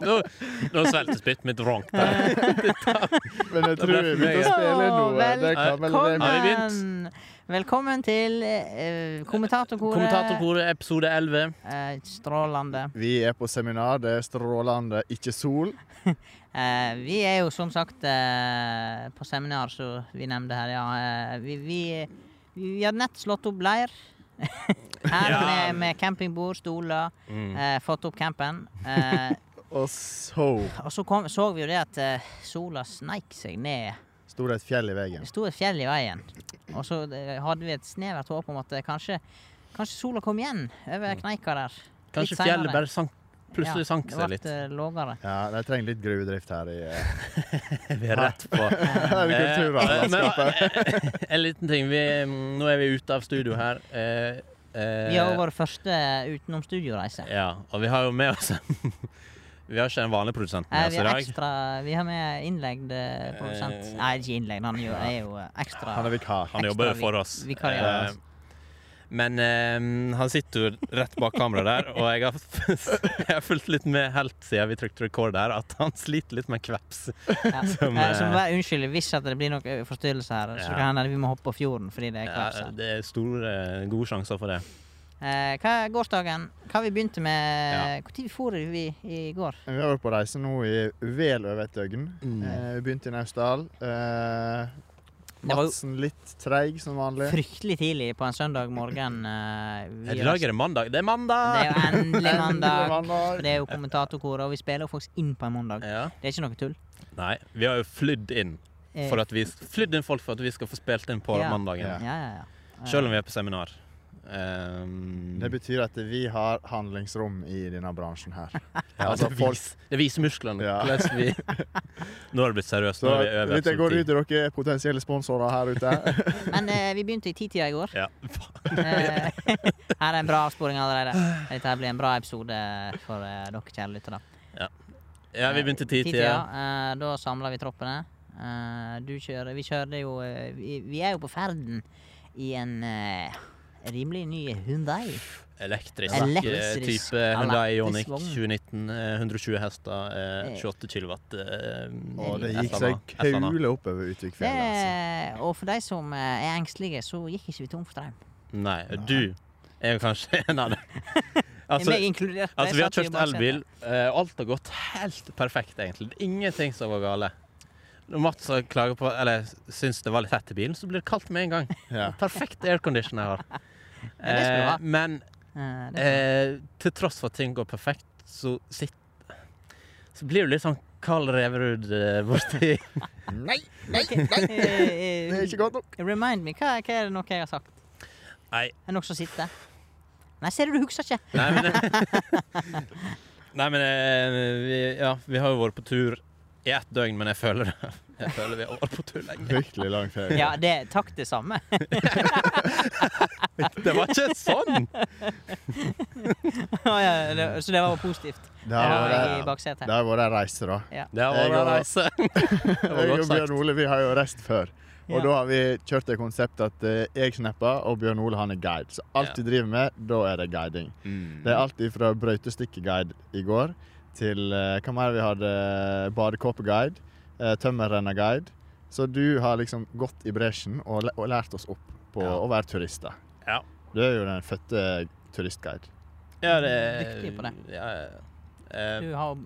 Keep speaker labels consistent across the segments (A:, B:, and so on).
A: Nå, nå svelgte spyttet mitt vronk
B: Eh,
A: der.
C: Men
A: Det
C: jeg tror
A: ble
C: vi
A: for
C: begynte
A: mye.
C: å spille
B: Åh,
C: noe. Det kan vel det
A: Nei, vi
B: Velkommen! Velkommen til eh, kommentatorkoret.
A: Kommentatorkoret episode 11.
B: Eh, strålende.
C: Vi er på seminar, det er strålende, ikke sol.
B: Eh, vi er jo som sagt eh, på seminar, som vi nevnte her, ja. Eh, vi, vi, vi har nett slått opp leir. her
A: Ja.
B: med, med campingbord, stoler.
A: Mm.
B: Eh, fått opp campen. Eh,
C: Og så
B: og så kom, så vi jo det at eh, sola sneik seg ned.
C: sto det et fjell i veien.
B: Det sto et fjell i veien. Og så eh, hadde vi et snevert håp om at eh, kanskje, kanskje sola kom igjen
A: Mm.
B: over kneika der.
A: Kanskje
B: Litt senere.
A: fjellet bare sank, plutselig sank
B: det
A: seg
B: ble,
A: litt.
B: eh, lågere.
C: Ja, de trenger litt gruvedrift her i eh,
A: Vi er rett på.
C: her i altså.
A: Eh, men,
C: kulturlandskapet.
A: eh, En liten ting. Vi, mm, nå er vi ute av studio her. Eh, eh,
B: Vi har jo vår første utenomstudioreise.
A: Ja, og vi har jo med oss Vi har ikke en vanlig produsent
B: Eh,
A: med oss
B: vi,
A: i
B: har
A: dag.
B: ekstra, vi har med innlegd eh, produsent.
A: Eh,
B: Nei, ikke innlegd, han er jo, er jo eh, ekstra
C: Han er vikar.
A: Han
B: ekstra
A: jobber jo
B: vi-
A: for oss.
B: vikar, ja.
A: Eh, Men eh, han sitter jo rett bak kameraet der, og jeg har, jeg har fulgt litt med helt siden vi trykte record der, at han sliter litt med kveps.
B: ja.
A: som,
B: Eh, Så
A: eh,
B: vær unnskyld hvis at det blir noe eh, forstyrrelse her. Så
A: Ja.
B: kan hende vi må hoppe på fjorden fordi det er
A: Ja,
B: kveps. her.
A: det er store, gode sjanser for det.
B: Eh, hva er gårsdagen? Hva vi begynte
A: Ja.
B: med? Hvor tid for vi i går?
C: Vi har vært på reise nå i vel over et døgn.
A: Mm.
C: Eh, Vi begynte i Naustdal. Eh,
B: Det var jo
C: Madsen litt treig som vanlig.
B: fryktelig tidlig på en søndag morgen. eh, vi
A: I dag er det mandag. Det er mandag!
B: Det er jo endelig
C: Endelig
B: mandag.
C: mandag.
B: For det er jo kommentatorkoret, og vi spiller jo faktisk inn på en mandag.
A: Ja.
B: Det er ikke noe tull.
A: Nei, vi har jo flydd inn,
B: Eh,
A: for at vi, flydd inn folk for at vi skal få spilt inn på
B: Ja.
A: mandagen.
B: ja, ja, ja. Eh,
A: Selv om vi er på seminar. Um,
C: Det betyr at vi har handlingsrom i denne bransjen her.
A: ja,
C: altså,
A: det,
C: folk-
A: viser, det viser musklene.
C: Ja.
A: Hvordan vi Nå har det blitt seriøst.
C: Så
A: Nå er vi over
C: litt jeg går ut
A: episode
C: til dere potensielle sponsorer her ute.
B: Men eh, vi begynte i titida i går.
A: 10. Ja.
B: Eh, her er en bra avsporing allerede. Dette her blir en bra episode for eh, dere kjære lyttere.
A: ja, vi begynte i
B: Eh,
A: titida.
B: eh, da samla vi troppene. Eh, du kjører Vi kjørte jo eh, vi, vi er jo på ferden i en eh, rimelig ny Hundai.
A: Elektrisk,
B: Elektrisk.
A: eh, type Hyundai Ioniq
B: Elektrisk vogn.
A: 2019. eh, 120 hester, eh,
B: Eh.
A: 28 kilowatt. eh,
C: Og det
A: et
C: gikk
A: eller
C: seg
A: annet, et eller annet.
C: kule oppover altså. Utvikfjellet.
A: altså.
B: Og for de som eh, er engstelige, så gikk ikke vi tom for strøm.
A: Nei, du er jo kanskje en av dem. Altså,
B: meg inkludert. Jeg
A: Altså, vi har
B: satt i
A: kjøpt
B: baksetet.
A: elbil, eh, og alt har gått helt perfekt, egentlig. Det er Ingenting som var gale. Når Mats har klager på, eller syns det var litt tett i bilen, så blir det kaldt med en gang.
C: Altså. Ja.
A: Perfekt aircondition jeg har.
B: det skal du ha.
A: Eh, men
B: Eh, det-
A: eh, til tross for at ting går perfekt, så sitter Så blir du litt sånn Karl Reverud eh, borti
C: Nei,
B: Eh,
C: det er ikke godt nok.
B: Remind me, hva, hva er det noe jeg har sagt?
A: Nei.
B: Er det noe som sitter? Nei, ser du, du husker ikke.
A: Nei, men, eh, nei, men eh, vi, Ja, vi har jo vært på tur i ett døgn, men jeg føler, jeg føler vi har vært på tur lenge.
C: Virkelig lang ferie.
B: Ja, det, takk det samme.
A: Det var ikke sånn!
B: Ja, ja, det, så det var positivt.
C: Det har
B: Ja,
C: vært-
B: i baksetet.
C: det har vært ei reise, da.
A: Det altså.
C: Jeg
A: var en
C: og-
A: reise. Det var
C: Jeg og
A: godt sagt.
C: Bjørn Ole vi har jo reist før. Og
B: Ja.
C: da har vi kjørt det konseptet at eh, jeg snapper, og Bjørn Ole han er guide. Så alt vi driver med, da er det guiding. Det er alt fra brøytestikkeguide i går til eh, hva mer vi hadde? Badekåpeguide, eh, tømmerrennerguide. Så du har liksom gått i bresjen og, læ- og lært oss opp på
A: Ja.
C: å være turister.
A: Ja.
C: Du er jo den fødte turistguide.
A: Ja, det er
B: Dyktig på det.
A: Ja, ja, ja. Eh,
B: Du har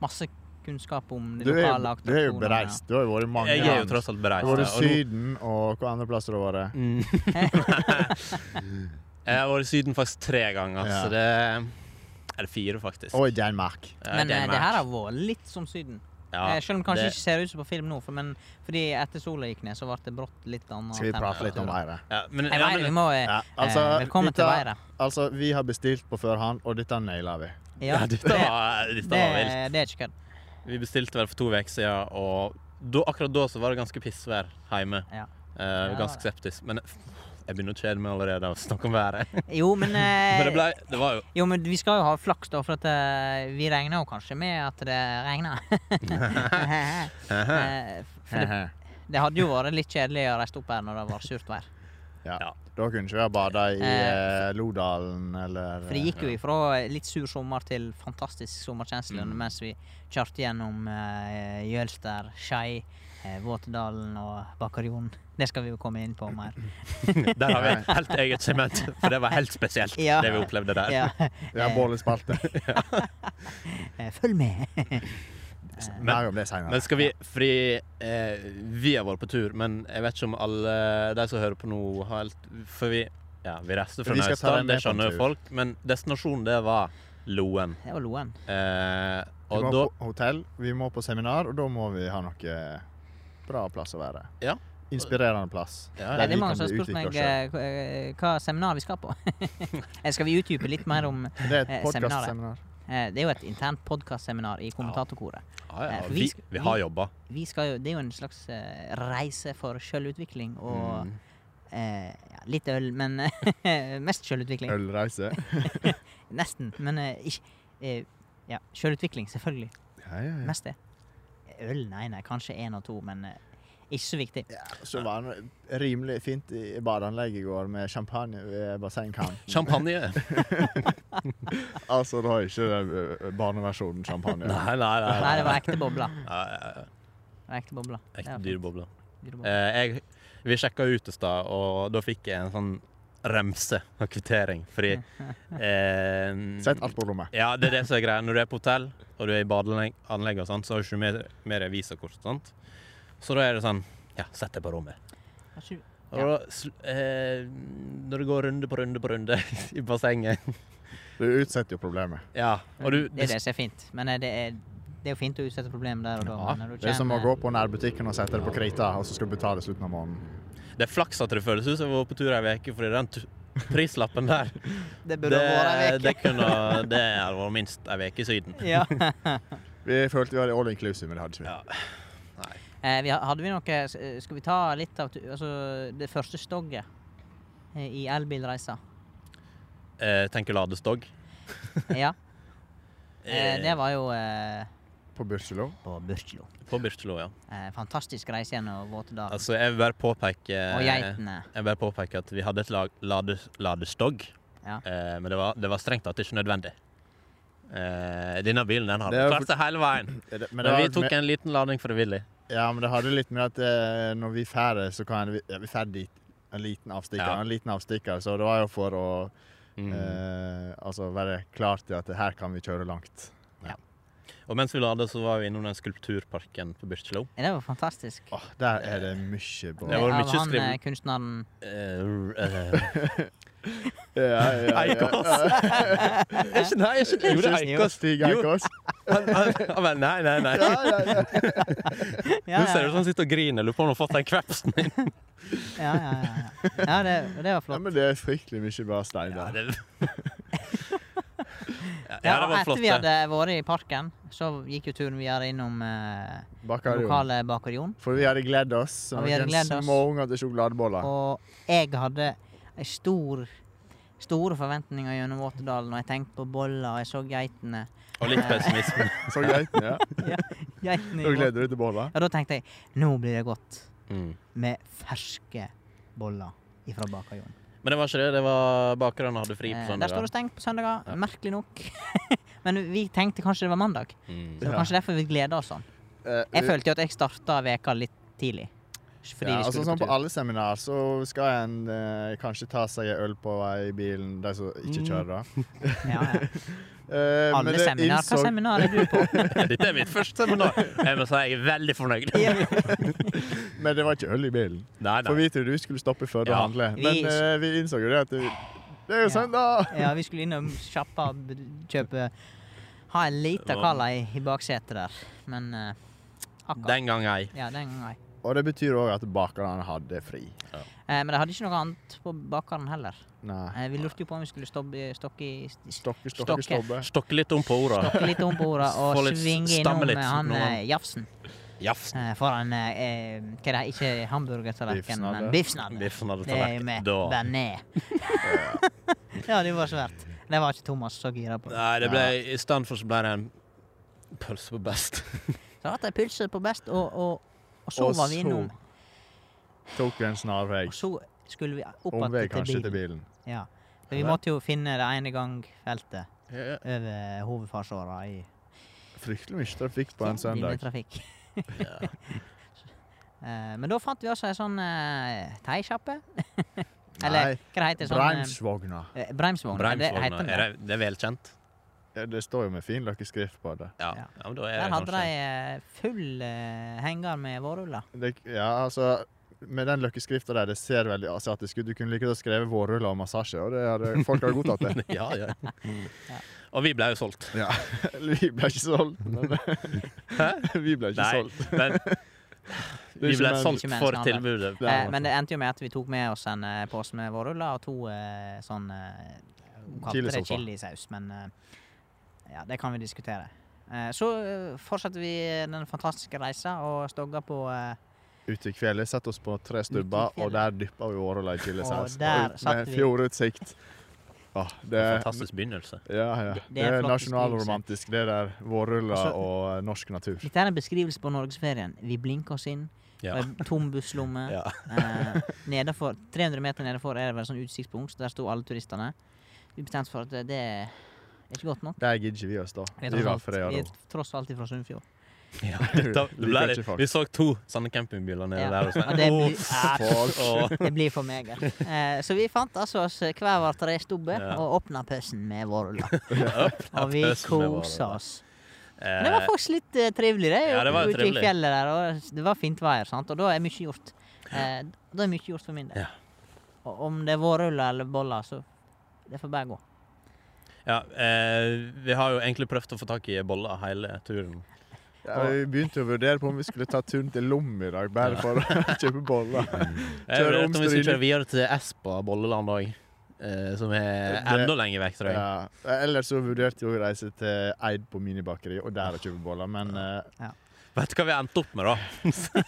B: masse kunnskap om de
C: Du er,
B: lokale
C: du er jo
B: aktorskolene.
C: bereist. Du har jo vært i mange
A: jeg er jo
C: land.
A: tross alt
C: Du
A: bereist.
C: har vært
A: ja,
C: i
A: og nå-
C: Syden og hva andre plasser har du vært?
A: Mm. jeg har vært i Syden faktisk tre ganger,
C: Ja.
A: så det Er det fire, faktisk?
C: Og i Danmark.
A: Ja,
B: Men eh,
A: Danmark.
B: det her har vært litt som Syden.
A: Ja,
B: Eh, Selv om det kanskje
A: det-
B: ikke ser ut som på film nå, for, men fordi etter sola gikk ned, så ble det brått litt annet.
C: Skal vi prate litt om
B: temperatur.
C: været?
A: ja, men,
B: Nei,
A: ja,
B: været, vi
A: men,
B: må eh,
C: Ja, altså,
B: eh, Velkommen til
C: gutta-
B: været.
C: Altså, vi har bestilt på førhånd, og dette naila vi.
A: ja, dette var, dette
B: det,
A: var vilt.
B: det er ikke kødd.
A: Vi bestilte vel for to uker siden, og da, akkurat da så var det ganske pissvær hjemme.
B: Ja.
A: Eh,
B: Ja,
A: ganske septisk. Men jeg begynner å kjede meg allerede av å snakke om været.
B: Jo, men, eh,
A: Men det, ble, det var jo
B: Jo, men vi skal jo ha flaks, da, for at eh, vi regner jo kanskje med at det regner. Eh, for det, det hadde jo vært litt kjedelig å reise opp her når det var surt vær.
A: Ja.
C: Da kunne ikke vi ha bada i
B: Eh,
C: eh, Lodalen eller
B: For det gikk jo ifra litt sur sommer til fantastisk sommerkjensle
A: Mm.
B: mens vi kjørte gjennom eh, Jølster, Skei, eh, Våtedalen og Bakarjonen. Det skal vi jo komme inn på mer.
A: Der har vi et helt eget segment, for det var helt spesielt,
B: Ja.
A: det vi opplevde der.
B: Ja.
C: Ja, Bålespalte.
B: Eh, Følg med!
A: Men,
C: Mer om det seinere.
A: men skal vi Fordi eh, vi har vært på tur, men jeg vet ikke om alle de som hører på nå, har helt For vi, ja, vi reiste fra
C: Vi skal ta
A: Naustdal, det
C: dem med på en
A: skjønner
C: tur.
A: jo folk, men destinasjonen, det var Loen.
B: Det var Loen.
A: Eh,
C: Vi
A: og
C: må
A: da
C: på hotell, vi må på seminar, og da må vi ha noe eh, bra plass å være.
A: Ja.
C: Inspirerende plass.
A: Ja,
B: Ja,
C: Der
B: det
C: vi
B: er
C: kan
B: mange som har
C: bli
B: spurt meg
C: utviklet selv.
B: eh, hva- eh, hva seminar vi skal på. Eh, skal vi utdype litt mer om
C: Det er
B: eh,
C: et podkastseminar.
B: eh, Det er jo et internt podkastseminar i kommentatorkoret.
A: ja, ja,
B: Eh, for vi
A: vi,
B: sk-
A: vi har
B: vi-
A: jobba.
B: Vi skal jo, det er jo en slags eh, reise for sjølutvikling og
A: Mm.
B: eh, ja, Litt øl, men mest sjølutvikling.
C: Ølreise.
B: Nesten, men eh, ikke eh, Ja, sjølutvikling, selvfølgelig.
C: Ja, ja, ja.
B: Mest det. Øl, nei, nei, kanskje én og to, men eh, ikke så viktig.
C: Så var det rimelig fint i badeanlegget i går med champagne ved bassengkanten.
A: Champagne.
C: Altså, det var ikke den barneversjonen champagne.
A: Nei, nei, nei.
B: Nei, det var ekte bobler.
A: Ja, ja, ja.
B: Det var Ekte bobler. Det
A: Ekte
B: var fint.
A: dyrebobler.
B: Dyre bobler.
A: Eh, jeg, vi sjekka ut i stad, og da fikk jeg en sånn remse av kvittering. Fordi eh,
C: Sett alt på rommet.
A: Ja, det er det som er greia. Når du er på hotell og du er i badeanlegg, og sånt, så har du ikke med, med deg visakort. Sant? Så da er det sånn Ja, sett deg på rommet.
B: Har ikke du-
A: Og da, sl- eh, når du går runde på runde på runde i bassenget
C: Du utsetter jo problemet.
A: Ja, og du,
B: Mm, Det er det som er fint. Men eh, det er, det er jo fint å utsette problemet der og da.
C: Ja,
B: men når du
C: det er som å
B: kommer-
C: gå på nærbutikken og sette det på krita, og så skal du betale i slutten av måneden.
A: det er flaks at det føles ut som jeg var på tur ei uke, fordi den tu- prislappen der
B: Det burde ha vært
A: Det,
B: en
A: det
B: uke.
A: kunne Det hadde vært minst ei uke siden.
B: Ja.
C: Vi følte vi hadde all inclusive, men det hadde ikke vi.
A: Ja. Nei.
B: Eh, vi, ha- hadde vi noe s- eh, Skal vi ta litt av tu- altså, det første stogget eh, i elbilreisa?
A: Eh, tenker ladestog.
B: Ja.
A: Eh,
B: Eh, det var jo eh,
C: På Byrkjelo.
B: på Byrkjelo.
A: På Byrkjelo, ja.
B: Eh, fantastisk reise gjennom Våtedalen.
A: Altså, eh, jeg vil bare påpeke
B: og geitene.
A: Jeg vil bare påpeke at vi hadde et lag, lade, ladestog,
B: Ja.
A: eh, men det var, det var strengt tatt ikke nødvendig. Eh, denne bilen den
C: Det
A: hadde
C: er jo
A: klart seg hele veien.
C: Men, det
A: Men,
C: har
A: vi tok
C: med,
A: en liten lading frivillig.
C: ja, men det hadde litt med at eh, når vi ferder, så kan vi, ja, vi ferder dit en liten avstikker.
A: Ja.
C: En liten avstikker, så det var jo for å
A: Eh,
C: eh, altså være klar til at her kan vi kjøre langt.
A: Og mens vi ladet, så var vi innom den skulpturparken på Byrkjelo.
B: Eh, Det var fantastisk.
C: Åh, der er det mye bra.
A: Det var
B: Eh, av
A: mye
B: han
A: skriv-
B: eh, kunstneren
A: Eh, eh,
C: Ja, ja, ja.
A: Eikås! Er ikke- Nei, er ikke Jo, det er Eikås.
C: Stig Eikås.
A: Han- han- han bare, Nei, nei, nei.
C: Ja, ja, ja.
B: Ja,
A: Nå ser
B: ja,
A: du sånn sitter og griner. Lurer på om han har fått den kvepsen inn.
B: ja, ja, ja, ja. ja det, det var flott.
C: ja, men det er fryktelig mye bra stein
A: Ja,
C: der.
A: det, ja,
B: Ja,
A: det
B: og
A: var
B: etter
A: flott.
B: vi
A: det.
B: hadde vært i parken, så gikk jo turen videre innom eh,
C: Bakarion.
B: lokale bakerion.
C: For vi hadde gledd oss som
B: Og vi hadde
C: noen
B: gledd oss.
C: småunger til sjokoladeboller.
B: Og jeg hadde ei stor store forventninger gjennom Våtedalen, og jeg tenkte på boller, og jeg så geitene.
A: Og litt pessimisme.
C: Så greit, ja.
B: Geitene
C: Nå
B: i båten.
C: gleder du deg til boller.
B: Og da tenkte jeg nå blir det godt
A: Mm.
B: med ferske boller ifra Bakerjon.
A: Men det var ikke det. det var Bakerne hadde fri på
B: Eh, der står
A: søndager.
B: det stengt på søndager,
A: Ja.
B: merkelig nok. Men vi tenkte kanskje det var mandag, så
A: Mm.
B: det var
C: Ja.
B: kanskje derfor vi gleda oss sånn.
C: Eh,
B: Jeg
C: vi-
B: følte jo at jeg starta veka litt tidlig. Fordi
C: ja,
B: vi
C: altså,
B: skulle
C: sånn
B: på
C: på
B: tur.
C: alle seminar så skal en eh, kanskje ta seg en øl på vei i bilen, de som ikke
A: Mm.
C: kjører, da.
B: Ja, ja.
C: Eh, men
B: Alle
C: det
B: seminar? Hva
C: innså-
B: seminar er du på?
A: Dette er mitt første seminar. Jeg må si jeg er veldig fornøyd.
C: Men det var ikke øl i bilen.
A: Nei,
C: For
A: nei.
C: vi trodde du skulle stoppe før du
A: Ja.
C: handler.
B: Vi-
C: Men eh, vi innså jo det at det, det er jo
B: Ja.
C: søndag!
B: Ja, vi skulle innom sjappa og b- kjøpe Ha en lita Kala i, i baksetet der, men uh, akkurat.
A: Den gang ei.
B: Ja, den gangen.
C: Og det betyr òg at bakerne hadde fri.
B: Eh, men de hadde ikke noe annet på bakeren heller.
C: Nei.
B: Eh, vi lurte jo på om vi skulle stobbe, stokke i st-
C: Stokke, stokke,
B: Stokke.
C: stobbe.
A: Stokke litt om på orda.
B: Stokke litt om på orda og
A: Få litt-
B: svinge
A: stamme
B: innom
A: litt,
B: med han
A: noe
B: eh, Jafsen.
A: Jafs.
B: Eh, foran eh, eh, Hva er det, ikke hamburgertallerken, men
C: Biffsnadder.
B: biffsnadder.
A: Biffen hadde
B: Det er jo
A: tallerken.
B: med
A: Da.
B: bearnés. ja, det var svært. Det var ikke Thomas så gira på.
A: Nei, det ble, i stedet for så ble det en pølse på best.
B: Så hatt ei pølse på best, og, og, og så
C: Og
B: var vi
C: så
B: innom
C: Tok vi en snarvei.
B: Og så skulle vi opp
C: Omvei
B: att
C: kanskje til
B: bilen.
C: bilen.
B: Ja. For vi
C: Ja.
B: måtte jo finne det ene gang feltet
A: Ja, ja.
B: over hovedfarsåra i
C: Fryktelig mye trafikk på en søndag.
B: linjetrafikk.
A: Ja.
B: Eh, Men da fant vi også ei sånn uh, teisjappe. Eller
C: Nei,
B: hva det heter det? Sånn,
C: Breimsvogna.
B: eh, Breimsvogn. er det-
A: Breimsvogna.
B: heter den
A: Er
B: det?
A: det, det er velkjent?
C: Ja, Det står jo med fin løkkeskrift på det.
A: Ja.
B: Ja.
A: ja, men da er
B: Der
A: det
B: hadde de
A: kanskje
B: eh, full eh, henger med vårruller.
C: det ja, altså, med den løkkeskrifta der, det ser veldig asiatisk ut. Du kunne like godt skrevet 'vårruller og massasje', og det hadde, folk hadde godtatt det.
A: Ja, ja. Og vi ble jo solgt.
C: Ja. Eller, Vi ble ikke solgt. Men, vi ble ikke
A: Nei,
C: solgt.
A: men vi
C: ikke
A: ble
C: menn.
A: solgt
B: Ikke menn,
A: for
B: han ble-
A: tilbudet.
C: Det er
B: Eh, men det endte jo med at vi tok med oss en eh, pose med vårruller og to eh, sånn eh, Hun kalte det
C: Chilisalsa.
B: chilisaus, men eh, ja, det kan vi diskutere. Eh, så eh, fortsatte vi den fantastiske reisa og stogga på eh,
C: Ute i fjellet satte oss på tre
B: Ute
C: stubber,
B: i fjellet.
C: og der dyppa vi vårruller i chilisaus.
B: Og der
C: ut
B: satt
C: Med
B: vi.
C: fjordutsikt. Åh, det,
A: Fantastisk begynnelse.
C: ja, ja.
B: Det- det er
C: det er
B: en flott
C: nasjonalromantisk, det der.
B: Altså-
C: Vårruller og eh, norsk natur.
B: Dette er en beskrivelse på norgesferien. Vi blinker oss inn.
A: Ja.
B: og en Tom busslomme.
A: Ja.
B: Eh, nedenfor, 300 meter nedenfor er det vel sånn utsiktspunkt, så der sto alle turistene. Vi bestemte oss for at det- det er ikke godt nok.
C: Der gidder ikke vi oss, da.
B: Vi er
C: Vi var
B: tross
C: fred
B: alt,
C: og
B: vi
C: ro.
B: er tross alt fra Sunnfjord.
A: Ja, da, det ble,
C: Liker ikke
A: det-
C: folk.
A: vi så to sånne campingbiler nede
B: Ja.
A: der. Og
B: Og det,
A: sånn,
B: blir- ja,
C: Folk.
A: og,
B: det blir for meget. Eh, så vi fant altså oss hver vår trestubbe
A: Ja.
B: og åpna pøssen med vårruller. Og vi
A: pøssen med
B: kosa
A: vårruller.
B: oss. Men det var
A: eh,
B: faktisk litt eh, trivelig, det.
A: Ja, det var
B: ute
A: trivelig.
B: i fjellet der, og det var fint vær, sant? og da er mye gjort. Eh, da er mye gjort for min del.
A: Ja.
B: Og om det er vårruller eller boller, så det får bare gå.
A: ja, eh, vi har jo egentlig prøvd å få tak i boller hele turen.
C: Ja, vi begynte å vurdere på om vi skulle ta turen til Lom i dag, bare for å kjøpe boller.
A: Jeg
C: Kjøre
A: vet om vi skal
C: omstridning.
A: kjøre videre til Espa bolleland òg, eh, som er
C: Det-
A: enda lenger vekk, tror jeg.
C: Ja. Ellers så vurderte vi å reise til Eid på minibakeri og der å kjøpe boller, men eh,
A: Vet du hva vi endte opp med, da?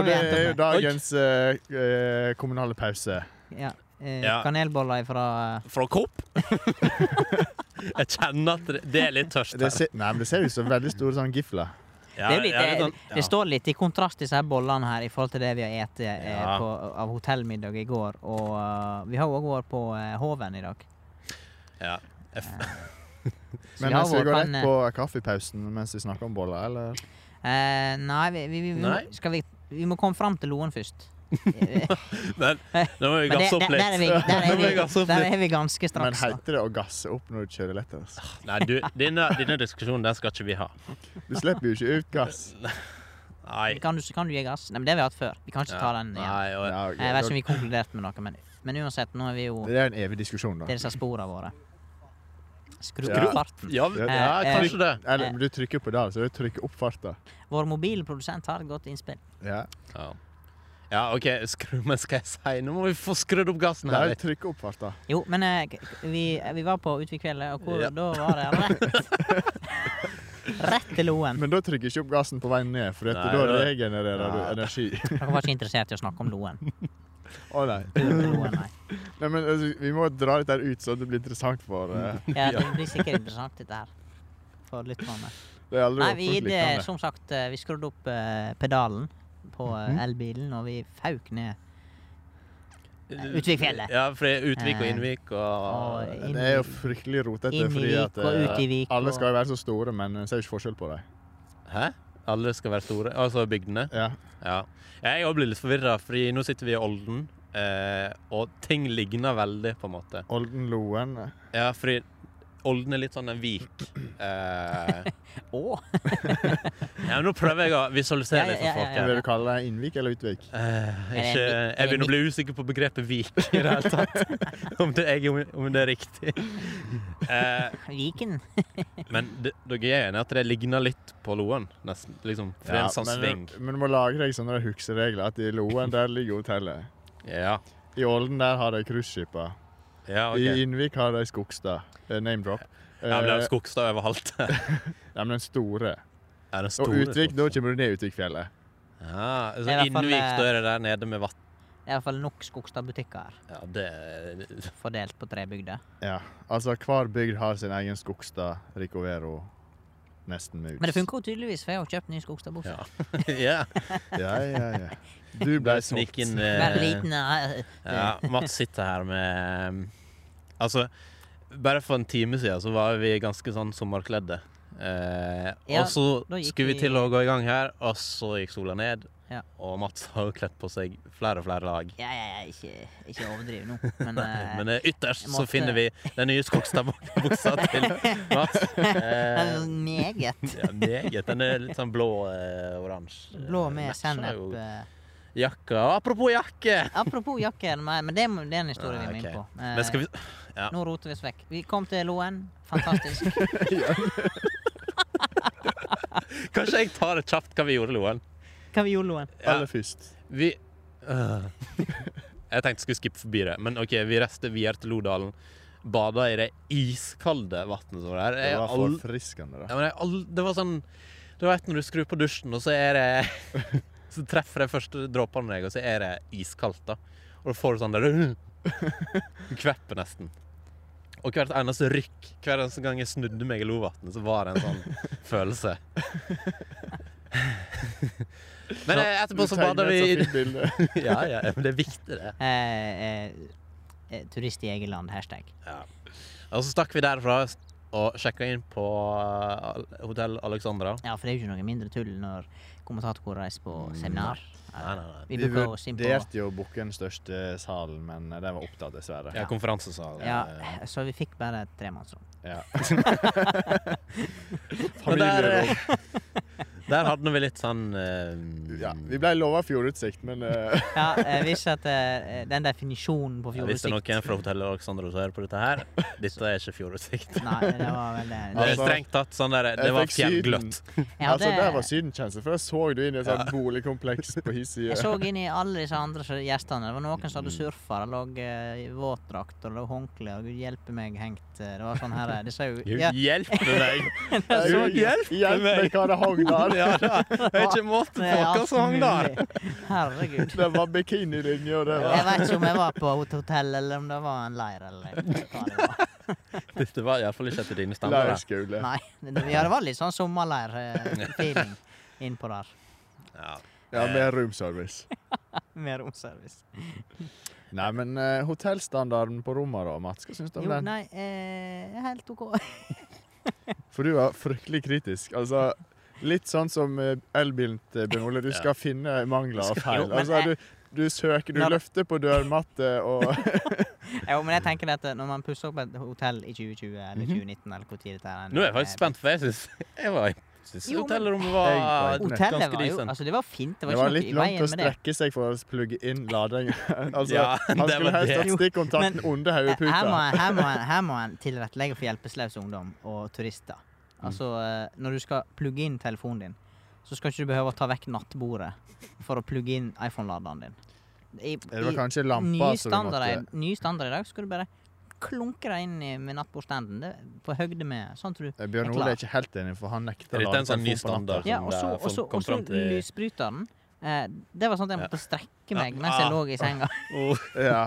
C: Og
B: vi
C: det
B: endte opp
C: er jo
B: med?
C: dagens eh, eh, kommunale pause.
B: Ja. Eh,
A: Ja.
B: Kanelboller eh, fra
A: Fra Coop? jeg kjenner at det- det er litt tørst
C: Det
A: her.
C: ser, nei, men det ser ut som veldig store sånn gifler.
A: Ja,
B: det, er jo litt,
A: ja,
B: det,
A: sånn-
B: det står litt i kontrast til disse her bollene her i forhold til det vi har spist eh,
A: Ja.
B: på, av hotellmiddag i går. Og eh, vi har òg vært på eh, Hoven i dag.
A: ja, ja.
B: Så
C: Men
B: vi har
C: skal vi
B: vært
C: gå
B: på en,
C: rett på kaffepausen mens vi snakker om boller, eller?
B: eh, Nei, vi, vi, vi, vi,
A: Nei.
B: Må, skal vi, vi må komme fram til Loen først.
A: Men nå må vi
B: Men det,
A: gasse opp
B: der, der, er vi,
A: litt.
B: der,
A: Nå
B: er
A: må
B: vi,
A: vi gasse opp
B: der
A: litt.
B: er vi ganske
C: Men
B: straks. da.
C: heter det å gasse opp når du kjører lett? Altså?
A: Nei, du, denne, denne diskusjonen den skal ikke vi ha.
C: Du slipper jo ikke ut gass.
A: Nei.
B: Kan, du, kan du gi gass? Nei, men Det har vi hatt før. Vi kan ikke ta den igjen. Eh,
A: Nei, og,
C: Ja, ok,
B: Jeg vet ikke
C: da-
B: om vi konkluderte med noe, men, men uansett, nå er vi jo
C: Det er en evig diskusjon,
B: Det
C: da.
B: er disse sporene våre. Skru
C: Ja.
B: opp farten.
A: ja, ja,
B: Eh,
A: kanskje det.
C: Eller men du trykker på der, så du trykker opp farta.
B: Vår mobilprodusent har et godt innspill.
C: Ja.
A: Ja, ja OK, skru, men skal jeg si Nå må vi få skrudd opp gassen her.
C: Nei, trykk opp farta.
B: Jo, men eh, k- k- vi, vi var på Utvikfjellet, og hvor,
A: Ja.
B: da var det rett Rett til Loen.
C: Men da trykker ikke opp gassen på vei ned, for at
A: Nei,
C: da
A: det-
C: regenererer du
A: Nei.
C: energi.
B: Dere var ikke interessert i å snakke om Loen.
C: Å nei.
B: Turen til Loen, nei.
C: nei men, altså, vi må dra dette her ut, så det blir interessant for eh,
A: Mm.
B: Ja, det blir sikkert interessant, dette her. For lytterne.
C: Det er aldri
B: Nei,
C: vært
B: vi,
C: folk
B: det,
C: liknende.
B: som sagt, eh, vi skrudde opp eh, pedalen på eh, elbilen, og vi fauk ned. Utvikfjellet.
A: Ja, for det er Utvik
B: Eh.
A: og Innvik
B: Og
A: og
B: inn,
C: Det er jo fryktelig rotete,
B: inn i
C: fordi
B: vik
C: at
B: og ut i
C: eh,
B: vik
C: alle
B: og-
C: skal jo være så store, men en ser jo ikke forskjell på dem.
A: Hæ? Alle skal være store? Altså bygdene?
C: Ja.
A: Ja. Jeg òg blir litt forvirra, fordi nå sitter vi i Olden, eh, og ting ligner veldig, på en måte.
C: Oldenloen
A: Ja, fordi Olden er litt sånn en vik. Eh,
B: Å!
A: ja, men nå prøver jeg å visualisere litt
B: Ja, ja,
A: for folk
B: ja,
A: her.
C: Vil du kalle det Innvik eller Utvik?
A: Eh,
B: Er det en
A: ikke,
B: vik- er
A: jeg
B: det en
A: begynner å bli usikker på begrepet vik i det hele tatt. Om det, jeg, om det er riktig. Eh,
B: Viken.
A: men det, dere er enige at det ligner litt på Loen, nesten? Liksom, for det er en sånn
C: men,
A: sving.
C: men du må lage deg sånne hukseregler at i Loen der ligger hotellet.
A: Ja.
C: I Olden der har de cruiseskipa.
A: ja Ah,
C: I
A: ok.
C: Innvik har de Skogstad. Eh, Name drop.
A: Ja, men det er
C: Eh,
A: skogstad overalt.
C: ja, men den store.
A: Ja, den
C: Og
A: store
C: Utvik, da
A: Skogstad.
C: kommer du ned Utvikfjellet.
A: Ja, altså,
B: Det er
A: så
B: i hvert fall,
A: Innvik,
B: eh,
A: da er det der nede med vatt.
B: Det er i hvert fall nok Skogstad-butikker her,
A: Ja, det er-
B: fordelt på tre bygder.
C: Ja. Altså, hver bygd har sin egen Skogstad, Ricovero nesten med ut.
B: Men det funker jo tydeligvis, for jeg har jo kjøpt ny skogstadbukse.
A: Ja. Ja,
C: Ja, ja, ja. Du ble
A: Bare
C: solgt.
A: snik inn
B: Bare
A: eh,
B: liten eh,
A: Ja, Mats sitter her med eh, Altså, bare for en time siden så var vi ganske sånn sommerkledde. Eh,
B: Ja,
A: og så
B: da gikk
A: skulle vi
B: vi-
A: til å gå i gang her, og så gikk sola ned.
B: Ja.
A: Og Mats har jo kledd på seg flere og flere lag.
B: Ja, ja, ja, ikke, ikke overdriv nå, men, eh,
A: Men eh, ytterst
B: jeg
A: så
B: måtte-
A: finner vi den nye skogstadbuksa til Mats. Eh,
B: eh, meget.
A: ja, meget. Den er litt sånn blå-oransje.
B: Blå med sennep. eh.
A: Jakka. Apropos jakke!
B: Apropos jakker, men men det, må- det er en historie
A: Ja,
B: vi må inn
A: ok.
B: på. Eh,
A: Men skal vi ja.
B: Nå roter vi oss vekk. Vi kom til Loen. Fantastisk.
A: Kanskje jeg tar det kjapt hva vi gjorde, Loen?
B: Hva vi gjorde Loen?
A: Ja.
C: Aller først.
A: Vi Øh. Jeg tenkte jeg skulle skippe forbi det, men OK, vi reiste videre til Lodalen. Bada i det iskalde vannet som var der.
C: Det
A: Jeg
C: var
A: al-
C: forfriskende,
A: ja,
C: da.
A: men jeg al- det var sånn Du vet når du skrur på dusjen, og så er det Så treffer de første dråpene deg, og så er det iskaldt, da. Og da får du sånn der Du kvepper nesten. Og hvert eneste rykk, hver eneste gang jeg snudde meg i lovatnet, så var det en sånn følelse. Men eh, etterpå så bada vi i
C: vi
A: ja, ja, men det er viktig, det.
B: Eh, eh, eh, turist i eget land, hashtag.
A: Og så stakk vi derfra og sjekka inn på eh, Hotell Alexandra.
B: Ja, for det er jo ikke noe mindre tull når kommentatorer reiser på seminar.
A: Nei, nei, nei.
B: Vi
C: Vi
B: booka oss inn på
C: vurderte jo å booke den største salen, men eh, den var opptatt, dessverre.
A: Ja, konferansesal.
B: Ja,
A: eh,
B: så vi fikk bare et tremannsrom.
C: Ja.
A: Men der,
C: Familieråd.
A: eh, der hadde vi litt sånn eh,
C: Ja, vi ble lova fjordutsikt, men eh,
B: Ja, jeg visste at eh, den definisjonen på
A: Hvis det er
B: fjordutsikt
A: noen fra Hotell Alexandra som hører på dette her, dette er ikke fjordutsikt.
B: Nei, det var vel det.
A: Det er
C: Altså,
A: strengt tatt sånn der Det
C: jeg
A: var
C: fikk Syden.
A: fjellgløtt.
B: Jeg, hadde,
C: altså, der var sydenkjensel, for da så du inn i et sånt
A: Ja.
C: boligkompleks på hissida.
B: jeg så inn i alle disse andre så- gjestene. Det var noen som hadde surfa, det lå eh, i våtdrakt, og det lå håndkle, og gud hjelpe meg hengt eh, Det var sånn her eh, Det så jo ja,
A: Hjelp meg!
C: Gud,
A: hjelp meg.
C: hva det hang der!
A: Ja, da. Det er ikke måte på
B: det er
A: hva
B: alt
A: som sånn hang der.
B: mulig. Herregud.
C: Det var bikinilinje, og det
B: Jeg
C: var
B: vet ikke om jeg var på et hotell, eller om det var en leir, eller hva det var.
A: Dette var iallfall ikke etter dine stammer. da.
C: leirskole.
B: Nei, det, ja, det var litt sånn sommerleir-feeling innpå der.
A: Ja.
C: Ja, med roomservice.
B: Med romservice.
C: Nei, men eh, hotellstandarden på rommene da, Mats, hva syns du om
B: Jo,
C: den?
B: nei, eh, helt OK.
C: For du var fryktelig kritisk. Altså, litt sånn som eh, elbilen til Bjørn Ole. Du
A: Ja.
C: skal finne mangler og feil.
B: Jo, men
C: Altså,
B: jeg-
C: du, du søker, du
B: Når-
C: løfter på dørmatte og
B: Jo, men jeg tenker det at eh, når man pusser opp et hotell i 2020
C: Mhm.
B: eller 2019 eller hvor tid dette er
A: Nå er jeg faktisk spent, for jeg syns jeg var- jeg synes
B: Jo, men-
A: hotellrommet
C: Jeg
A: var
C: var imponert.
B: eh, Hotellet
A: ganske
B: var jo
A: decent.
B: Altså, det var fint. Det var,
C: Det var
B: ikke
C: litt
B: noe i
C: langt å
B: veien med det.
C: strekke seg for å plugge inn ladingen. altså,
A: Ja,
C: han
A: det
C: skulle
A: var
C: helst
A: det.
C: hatt stikkontakten under
B: Eh, Her må,
C: hodeputa.
B: en- her, må en, her må en tilrettelegge for hjelpeløs ungdom og turister.
C: Mm.
B: Altså, eh, når du skal plugge inn telefonen din, så skal ikke du behøve å ta vekk nattbordet for å plugge inn iPhone-laderen din. I,
C: Det var
B: i
C: kanskje
B: ny,
C: lampa som du
B: standard,
C: måtte
B: i- ny standard i dag skal du bare klunke deg inn i, med nattbordstanden. Det er På høgde med Sånn tror du
C: Eh, Bjørn
B: er
C: Ole
B: klar.
C: er ikke helt enig, for han nekter
A: Er dette
C: lade
A: en sånn ny
C: telefonen på natta.
A: standard?
B: Ja,
A: som
B: og
A: det
B: så-
A: er
B: og så
A: folk kom
B: og så
A: fram til-
B: lysbryteren. Eh, det var sånn at jeg
A: Ja.
B: måtte strekke
A: Ja.
B: meg mens jeg
A: Ah.
B: lå i senga.
A: Oh,
C: Ja.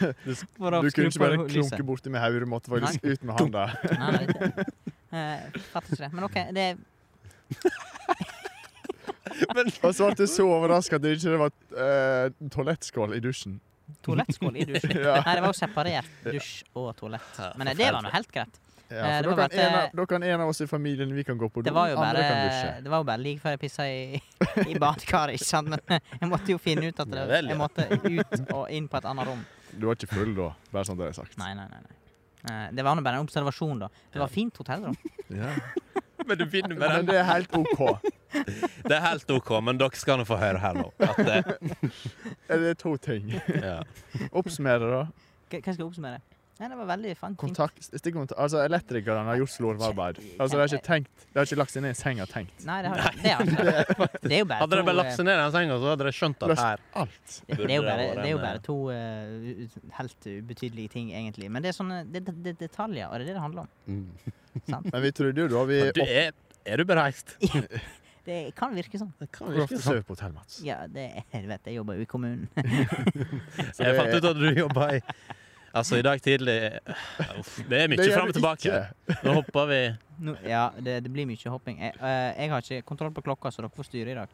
B: For
C: Du kunne ikke bare
B: ho-
C: klunke borti med hodet, du måtte faktisk ut med hånda.
B: Nei, nei, det- eh, fatter ikke det. Men OK, det er
A: men
C: Og så ble jeg så overraska at det ikke var eh, toalettskål i dusjen.
B: toalettskål i dusjen.
C: Ja.
B: Nei, det var jo separert dusj og toalett.
A: Ja,
B: Men eh, det var nå
A: forferdelig.
B: helt greit.
C: Ja,
B: Eh,
C: for
B: det
C: da kan,
B: var bare
C: en
B: at,
C: av, da kan en av oss i familien vi kan gå på do,
B: Det var jo
C: andre kan
B: bare,
C: dusje.
B: det var jo bare like før jeg pissa i, i badekaret, ikke sant. Men eh, jeg måtte jo finne ut at
A: Ja
B: det,
A: vel, ja.
B: jeg måtte ut og inn på et annet rom.
C: Du var ikke full da, bare sånn det er sagt.
B: Nei, nei, nei. nei. Eh, Det var nå bare en observasjon, da. Det var fint hotellrom.
C: Ja.
A: Men du finner med
C: Men
A: den.
C: det er helt OK.
A: Det er helt OK, men dere skal nå få høre her nå. At det,
C: Det er to ting.
A: ja.
C: Oppsummere, da.
B: Hva hva skal jeg oppsummere? Nei, det var veldig fan- fint.
C: Kontakt, stikkontakt Altså, elektrikerne har gjort slorvarbeid. Altså, de har ikke tenkt De har ikke lagt seg ned i senga og tenkt.
B: Nei, det har det har ikke. Det er jo bare
A: Hadde dere
B: to,
A: bare
B: eh,
A: lagt seg ned i den senga, så hadde dere skjønt at
C: Løst
A: her
C: alt.
B: det,
A: burde
B: det, er jo
A: det
B: bare,
A: vært
B: det er jo
A: en, eh,
B: bare to eh, u- u- helt ubetydelige ting, egentlig. Men det er sånne det, det, det er detaljer, og det er det det handler om.
C: Mm. Men vi trodde jo da vi
A: du, er, er du bereist?
B: Det kan virke sånn.
A: Det kan
C: Hvor
A: virke
C: ofte
A: sånn.
C: sover på hotell, Mats?
B: Ja, det jeg vet jeg. jobber jo i kommunen.
C: Så
A: Jeg fant
C: det
A: ut at du jobba i Altså, i dag tidlig Uff, Det er mye
C: gjør
A: fram og
C: du
A: tilbake.
C: ikke.
A: Nå hopper vi
B: Nå, ja, det, det blir mye hopping. Jeg, eh, jeg har ikke kontroll på klokka, så dere får styre i dag.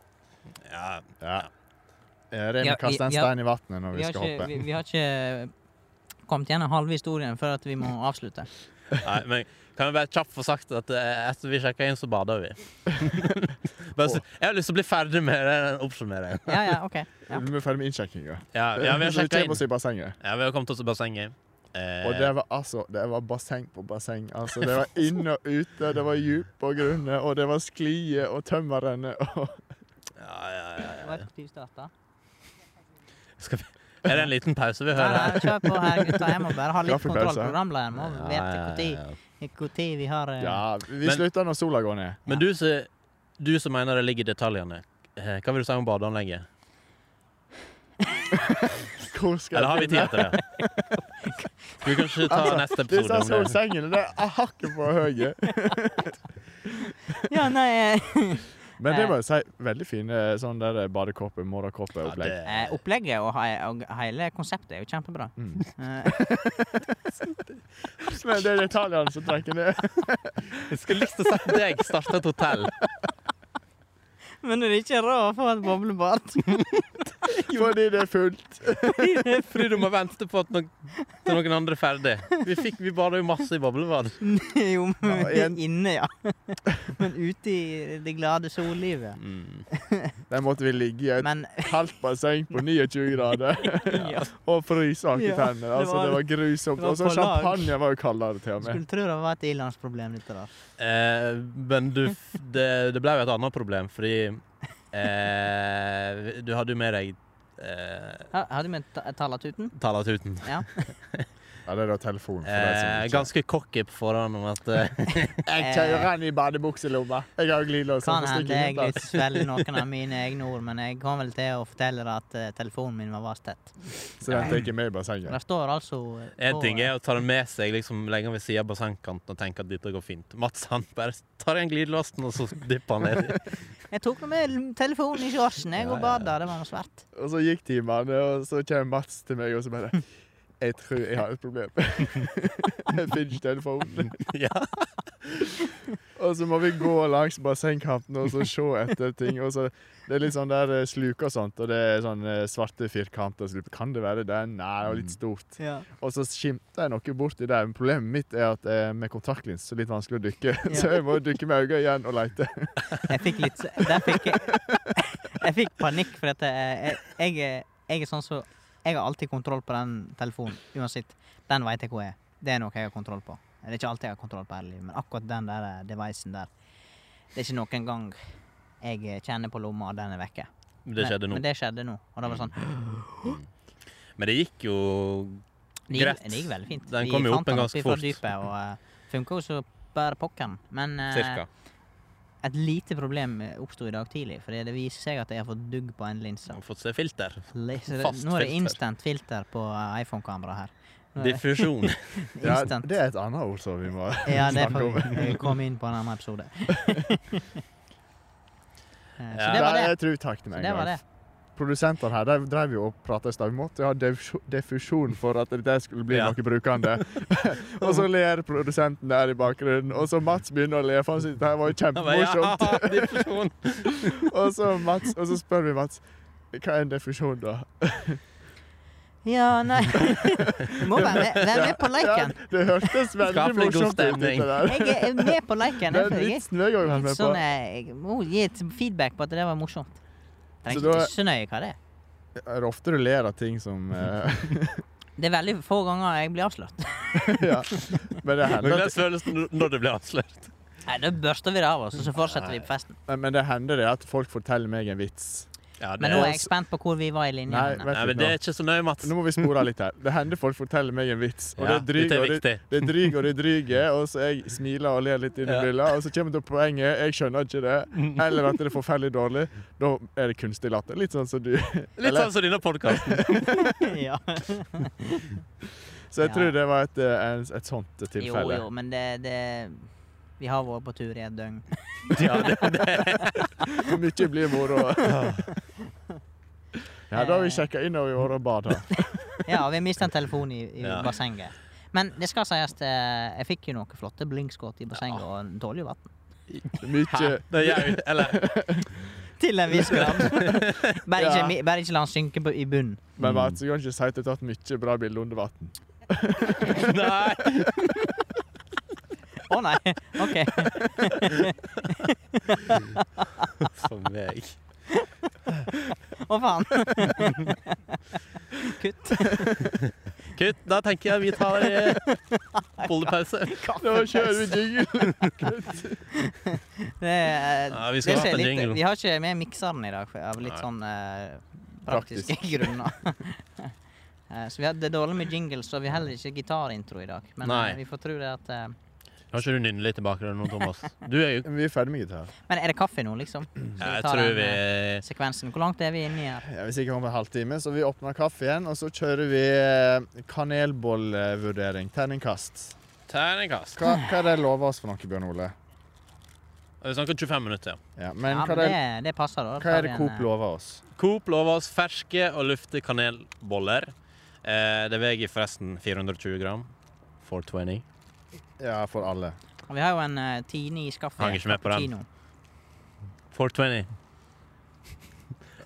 A: Ja,
C: Ja. Remi
B: Ja, vi-
C: kaster Eh, en
B: ja.
C: stein i vannet når
B: Vi
C: vi
B: har,
C: skal
B: ikke, vi,
C: hoppe.
B: vi har ikke eh, kommet gjennom halve historien før at vi må avslutte.
A: nei, men kan vi bare kjapt få sagt at eh, etter vi sjekker inn, så bader vi? Bare så- jeg har lyst til å bli ferdig med den oppsummeringen.
B: Ja, ja, ok. Ja.
C: Vi er ferdig med innsjekkinga.
A: Ja, ja, vi har sjekka
C: kommer
A: inn.
C: oss i bassenget.
A: Ja, vi har kommet oss til bassenget. Eh,
C: Og det var altså Det var basseng på basseng. Altså, det var inn og ute, det var djup og grunne, og det var sklier og tømmerrenner og
A: Eh, ja, ja, ja,
B: Det
A: ja.
B: var effektiv start, da.
A: Skal vi, er det en liten pause vi
B: Nei,
A: hører?
B: nei, kjør på her, gutta. Jeg må bare ha litt
C: Kaffepause.
B: kontroll på programlederen. Må vite
A: Ja,
B: hvor
A: ja,
B: tid-
A: ja.
B: hvor tid vi har eh,
C: Ja, vi
A: Men-
C: slutter når sola går ned.
A: Men du, som- du som mener det ligger i detaljene, eh, hva vil du si om badeanlegget?
C: Hvor skal
A: Eller har vi
C: jeg
A: tid
C: finne-
A: til det? Skal vi kanskje ta
C: Altså,
A: neste episode
C: Disse
A: om det? sånn
C: solsengene, det er hakket for høye.
B: Ja, nei eh,
C: Men det må jeg si, veldig fine sånn der badekåpe, morgenkåpe-opplegg.
B: eh, Opplegget og, hei- og hele konseptet er jo kjempebra.
C: Mm.
B: Eh,
C: Men det er detaljene som trekker ned.
A: Jeg skulle lyst til å se deg starte et hotell.
B: Men det er ikke råd å få et boblebad.
C: Fordi det er fullt.
A: Fordi du må vente på at noen, til noen andre er ferdig. Vi, fikk, vi bada jo masse i boblebad.
B: jo, men
C: Ja, igjen.
B: inne, ja. Men ute i det glade sollivet.
C: Der måtte vi ligge i et
B: Men
C: kaldt basseng på 29 grader
B: ja,
C: og fryse anke
B: Ja,
C: tenner. Altså,
B: det
C: det
B: var-
C: var grusomt.
B: det var
C: Og så
B: på lag.
C: champagne var jo kaldere til og med.
B: skulle tro det var et ilandsproblem, dette der.
A: Eh, men du, f- det, det ble jo et annet problem, fordi eh, du hadde jo med deg eh,
B: Har har du med ta- talatuten?
A: Talatuten.
C: Ja, det er da telefonen for deg som
A: Eh,
C: ikke
A: ganske cocky på forhånd om at eh,
C: Jeg tøyer den i badebukselomma. Jeg har jo glidelås. så
B: Kan
C: får
B: hende
C: stikke
B: jeg
C: innenlands.
B: svelger noen av mine egne ord, men jeg kom vel til å fortelle deg at eh, telefonen min var vasstett.
C: Så den tar ikke med i bassenget.
B: Det står altså eh,
A: En
B: på-
A: ting er å ta den med seg liksom legge den ved siden av bassengkanten og tenke at dette går fint. Mats han bare tar igjen glidelåsen, og så dypper han ned. i.
B: eh, Jeg tok nå med telefonen i shortsen jeg og bada. Det var noe svært.
C: Og så gikk timene, og så kommer Mats til meg og så bare Jeg tror jeg har et problem. Jeg finner ikke telefonen.
A: Ja.
C: Og så må vi gå langs bassengkanten og så se etter ting. Og så, det er litt sånn der eh, sluk og sånt, og det er sånn eh, svarte firkanter. Så du- Kan det være den? Nei, det var litt stort.
B: Ja.
C: Og så skimter jeg noe borti der. Men problemet mitt er at eh, med kontaktlins så er det litt vanskelig å dykke. Så jeg må dykke med øynene igjen og lete.
B: Jeg fikk litt Der fikk jeg Jeg fikk panikk, for at jeg, jeg, er- jeg er sånn som Jeg har alltid kontroll på den telefonen, uansett. Den veit jeg hvor er. Det er noe jeg har kontroll på. Det er ikke alt jeg har kontroll på hele livet, men akkurat den der eh, devicen der Det er ikke noen gang jeg eh, kjenner på lomma, og den er vekke.
A: Men det skjedde
B: Men,
A: nå.
B: men det skjedde nå. Og det var sånn
A: Men det gikk jo
B: Det gikk,
A: Greit.
B: det gikk veldig fint.
A: Den
B: Vi
A: kom jo
B: fant
A: opp en
B: den
A: ganske
B: oppi fra
A: fort.
B: Dypet, og uh, funka jo så bare pokkeren. Men eh,
A: cirka.
B: et lite problem oppsto i dag tidlig, fordi det viser seg at jeg har fått dugg på en linse.
A: Har fått se filter.
B: Le- så det-
A: Fast
B: Nå er det
A: filter.
B: instant filter på eh, iPhone-kamera her. Nå er det
A: Diffusjon.
C: Ja,
B: instant.
C: det er et annet ord som vi må
B: Ja, det
C: snakke
B: får
C: om.
B: vi eh, komme inn på en annen episode. Eh, Så
A: Ja.
B: det var
C: Nei,
B: det.
C: Jeg tror takk til
B: Så
C: meg.
B: det var
C: Leif.
B: det.
C: Produsentene her de drev jo og prata i stad. Vi måtte jo ha diffu- diffusjon for at det skulle bli
A: Ja.
C: noe brukende. og så ler produsenten der i bakgrunnen, og så Mats begynner å le. For han synes det her var jo
A: Han bare,
C: kjempemorsomt.
A: Ja, diffusjon.
C: og, så Mats, og så spør vi Mats hva er en diffusjon, da?
B: Ja, nei Du må være med, være med på
C: Ja,
B: liken.
C: det hørtes veldig
A: Skapelig god
C: morsomt ut.
A: stemning.
C: dette der.
B: Jeg er- er med på liken. jeg,
C: Den
B: for jeg er
C: vitsen vil jeg òg være med på.
B: Sånn, eh, jeg må gi et feedback på at det var morsomt. Trenger
C: Så
B: ikke
C: da-
B: så nøye hva det er.
C: Er det ofte du ler av ting som eh,
B: Det er veldig få ganger jeg blir avslørt.
C: Ja. Men det
A: Men
C: hender
A: Hvordan føles det når det blir avslørt?
B: Nei, Da børster vi det av oss, og så fortsetter vi på festen.
C: Men- Men det hender det at folk forteller meg en vits.
A: Ja, det
B: Men nå er jeg
A: er,
B: spent på hvor vi var i linja.
C: Nei, vent
B: henne.
A: nei,
C: litt
A: men det er ikke så nøye, Mats.
C: Nå må vi spore litt her. Det hender folk forteller meg en vits, og
A: Ja,
C: det dryger
A: dette er
C: og det-
A: viktig.
C: det dryger og det dryger, og så jeg smiler og ler litt
A: Ja.
C: innimellom, og så kommer det poenget, jeg skjønner ikke det, eller at det er forferdelig dårlig. Da er det kunstig latter. Litt sånn som du.
A: Litt sånn som denne podkasten.
B: ja.
C: Så jeg
B: Ja.
C: tror det var et, eh, en- et sånt
B: Jo,
C: tilfelle.
B: jo, men det, det Vi har vært på tur i et døgn.
A: Ja, det, det.
C: Hvor mye blir moro? Ja, da har vi sjekka innover i året og bada.
B: Ja, vi mista en telefon i, i
A: Ja.
B: bassenget. Men det skal sies, eh, jeg fikk jo noen flotte blinkskott i bassenget, og den tåler jo vann.
C: Mykje
A: Det gjør jo Eller
B: Til en viss grad. Bare
C: Ja.
B: ikke, mi- bare ikke la den synke på, i bunnen.
C: Men Mats, jeg kan ikke si at jeg har tatt mye bra bilder under vann.
A: Nei!
B: Å nei! OK.
A: For meg.
B: Å faen. Kutt.
A: Kutt. Da tenker jeg vi tar eh, pollepause.
C: Nå kjører vi jingle!
B: Det, er-
A: Ja, vi skulle
B: det
A: hatt
B: skjer
A: en
B: litt-
A: jingle.
B: Vi har ikke med mikseren i dag, for av litt
A: Nei.
B: sånn eh, praktiske grunner. Eh, så vi hadde dårlig med jingles, så vi har heller ikke gitarintro i dag. Men
A: Nei.
B: eh, vi får tro det at eh,
A: Har ikke du nynnet litt i bakgrunnen nå, Thomas? Du er jo
C: Men vi er ferdig med gitar.
B: Men er det kaffe nå, liksom? Så vi
A: Jeg
B: tar
A: tror
B: den,
A: vi
B: eh, Sekvensen. Hvor langt er vi inni her?
C: Ja, hvis jeg kommer på en halvtime, så vi åpner kaffe igjen, og så kjører vi eh, kanelbollvurdering. Terningkast.
A: Terningkast.
C: Hva, hva er det lover oss for noe, Bjørn Ole?
A: Vi snakker 25 minutter.
C: Ja, men
B: ja,
C: hva
B: men
C: er det,
B: det, det passer,
C: hva er
B: da.
C: det
B: Tar vi en,
C: Coop
B: eh,
C: lover oss?
A: Coop lover oss ferske og luftige kanelboller. Eh, det veier forresten 420 gram. 420.
C: Ja, for alle.
B: og Vi har jo en uh, Tini i skaffet.
A: Hang ikke med på den.
B: Cappuccino.
A: 420.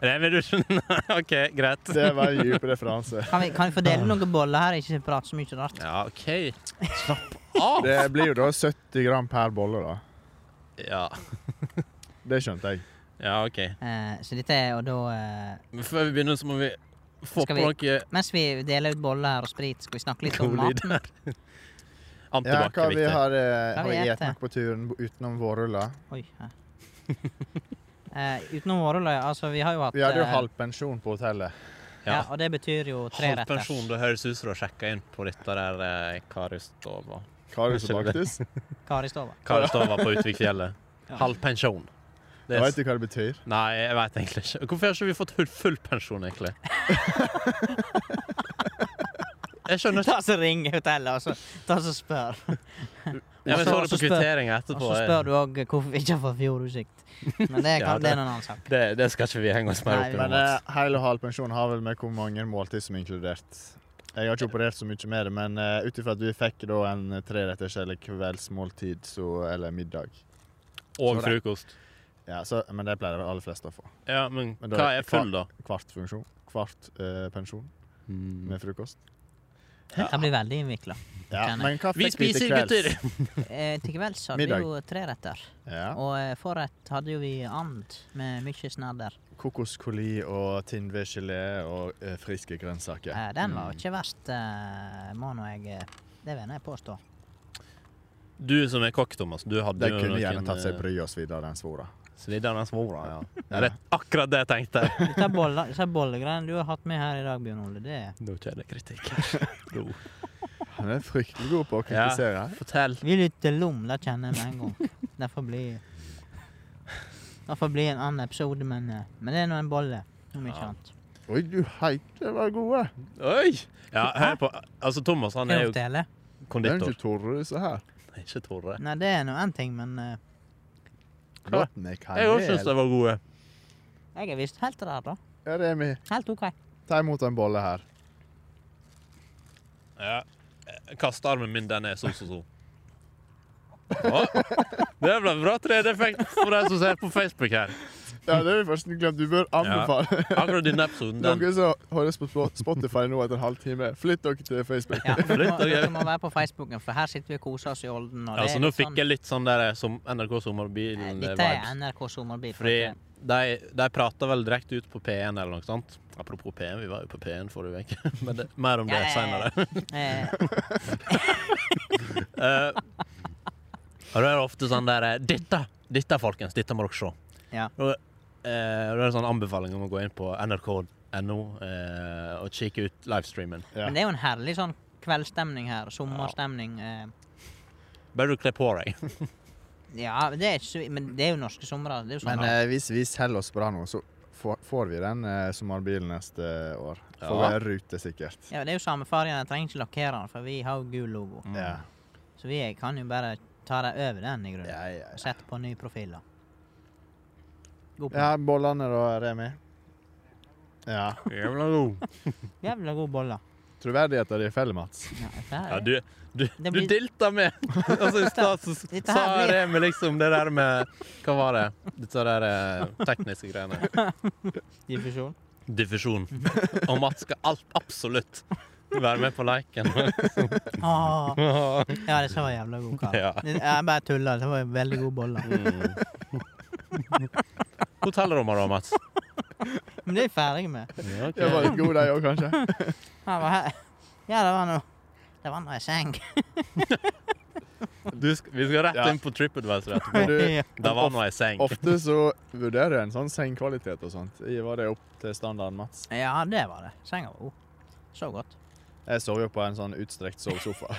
A: Rev i dusjen. OK, greit.
C: Det var en dyp referanse.
B: Kan vi, kan vi fordele noen boller her? Ikke prate så mye rart.
A: Ja, OK. Slapp av.
C: Det blir jo da 70 gram per bolle, da.
A: Ja,
C: Det skjønte jeg.
A: ja OK.
B: Eh, så dette er jo da eh,
A: Men før vi begynner, så må vi få
B: Skal
A: på noe
B: Mens vi deler ut boller her og sprit, skal vi snakke litt om
A: god lyd
B: maten.
A: her.
C: Ja,
A: Antibac
C: hva
A: er
C: vi
A: viktig.
C: har, eh,
B: Hva
C: har
B: vi
C: vi spist
B: eter?
C: noe på turen bo- utenom vårruller?
B: Oi, ja. Eh, utenom vårrulløy, altså vi har jo hatt
C: Vi hadde jo
B: eh,
C: halvpensjon på hotellet.
B: ja.
A: Ja.
B: Og det betyr jo tre
A: Halv
B: retters.
A: pensjon. Det høres ut som du har sjekka inn på dette der eh, Karistova.
C: Hva har du som baktus?
B: Karistova.
A: Karistova på Utvikfjellet.
B: Ja.
A: Halv pensjon. Det er...
C: Jeg vet du hva det betyr?
A: Nei, jeg veit egentlig ikke. Hvorfor har ikke vi fått full, full pensjon, egentlig? Jeg skjønner ikke.
B: Ta så ring hotellet, og så, ta så spør.
A: Ja, men Jeg så
B: Og
A: det
B: så
A: på
B: spør-
A: kvitteringa
B: Og så
A: etterpå. eh.
B: spør du òg hvorfor vi ikke har fått fjordutsikt. Men det,
A: Ja,
B: kan, det
A: det-
B: er en annen sak.
A: Det, det skal ikke vi henge oss mer
B: Nei,
A: opp i.
C: Men
A: nå,
C: eh,
A: Mats.
C: hel og halv pensjon har vel med hvor mange måltid som er inkludert. Jeg har ikke operert så mye med det, men uh, ut ifra at vi fikk da en treretters eller kveldsmåltid så, eller middag
A: Og
C: så det-
A: frokost.
C: ja, så, Men det pleier vel aller fleste å få.
A: Ja, men
C: Men da-
A: hva er full, da?
C: Kvart funksjon. Kvart eh, pensjon med frokost.
B: Det blir veldig innvikla.
C: Ja,
B: Kan jeg-
C: men hva
A: Vi
C: fikk vi til
A: spiser, gutter!
C: kvelds?
B: Eh, til kvelds hadde
C: Middag.
B: vi jo treretter.
C: Ja.
B: Og eh, forrett hadde jo vi and med mye snadder.
C: Kokoscoli og tinnvedgelé og eh, friske grønnsaker.
B: Eh, den
A: Mm.
B: var jo ikke verst, eh, må nå jeg eh, Det vil jeg påstå.
A: Du som er kokk, Thomas, du hadde
C: De
A: jo
C: kunne
A: noen
C: gjerne tatt seg
A: eh,
C: bryet og svidd av den svora.
A: Sviddende svora, ja.
C: Ja.
A: Det er akkurat det jeg tenkte.
B: Disse boller- disse bollegreiene du har hatt med her i dag, Bjørn Ole, det er
A: Nå kjenner jeg kritikk her. Nå.
C: Han er fryktelig god på å
A: Ja.
C: kritisere.
A: Fortell.
B: Vi lytter lom, det kjenner jeg med en gang. Det får bli Det får bli en annen episode, men, eh, men det er nå en bolle, om ikke
A: Ja.
B: annet.
C: Oi, du heiter var gode.
A: Oi! Ja, hør på. Altså, Thomas han er
B: Kan jeg
A: jo
B: fortelle?
C: Det er
A: konditor.
C: ikke Torre, disse her.
A: Ikke Torre.
B: Nei, det er nå én ting, men eh,
C: Låten er
A: Jeg òg syns de var gode.
B: jeg er visst helt rar, da.
C: Ja, Remi,
B: Helt OK.
C: ta imot en bolle her.
A: Ja. Kastearmen min, den er sånn som sånn. Å, Det ble bra 3D-effekt for de som ser på Facebook her.
C: Ja, det har vi forresten glemt. Du bør anbefale
A: Akkurat denne episoden, den.
C: noen som høres på Spo- Spotify nå etter en halvtime. Flytt dere til Facebook.
B: Ja, dere må,
A: Flytt dere.
B: dere må være på Facebooken, for her sitter vi og koser oss i Olden. Og det
A: Altså,
B: er
A: nå
B: litt
A: fikk jeg litt sånn der som NRK
B: sånn, eh, Dette er
A: Sommerbil-vibes.
B: NRK Sommerbil.
A: Fordi
B: dette.
A: de, de prata vel direkte ut på P1 eller noe sånt. Apropos P1, vi var jo på P1 forrige uke. Men det, mer om det
B: Ja, ja, ja.
A: seinere.
B: Eh,
A: Eh, og da er det ofte sånn der eh, Dette, dette folkens, dette må dere se.
B: Ja.
A: Og, eh, da er det sånn anbefaling om å gå inn på nrk.no eh, og kikke ut livestreamen.
C: Ja.
B: Men det er jo en herlig sånn kveldsstemning her. Sommerstemning. eh.
A: Bare du kler på deg.
B: Ja, det er ikke så, men det er jo norske somre. Det er jo sånn.
C: Men eh, hvis vi selger oss bra nå, så får, får vi den eh, sommerbilen neste år. Får
A: Ja.
C: vi rute,
A: eh,
C: sikkert.
B: ja, det er jo samme fargen. Jeg trenger ikke lakkere den, for vi har jo gul logo.
A: Mm.
C: Ja.
B: Så vi kan jo bare ta dem over den, i grunnen.
C: Ja, ja, ja.
B: Og sette på nye profiler. God
C: ja, bollene da, Remi? Ja.
A: Jævla god.
B: Jævla god bolle.
C: Troverdigheten din feller, Mats.
B: Ja, dette her-
A: Ja, du, du,
B: Det
A: du
B: blir-
A: dilta med! altså, I stad så s-
B: Dette her
A: sa
B: blir-
A: Remi liksom det der med Hva var det? Disse der eh, tekniske greiene.
B: Diffusjon.
A: Diffusjon. Og Mats skal alt, absolutt være med på leken.
B: Åh, ja, det så var jævla god kar.
A: Ja.
B: Det- Jeg bare tuller. Det var en veldig god bolle.
A: Mm. Hotellrommet da, Mats?
B: Men det er jeg ferdig med.
C: Jeg var litt god, de òg, kanskje.
B: Han var her. Ja, det var noe Det var noe i seng.
A: Du sk vi skal rett
C: Ja.
A: inn på TripAdvisor etterpå.
C: Men du,
B: Ja.
A: Der var nå ei seng.
C: ofte så vurderer jeg en sånn sengkvalitet og sånt. I- Var det opp til standarden, Mats?
B: Ja, det var det. Senga var god. Så godt.
C: Jeg sov jo på en sånn utstrekt sovesofa.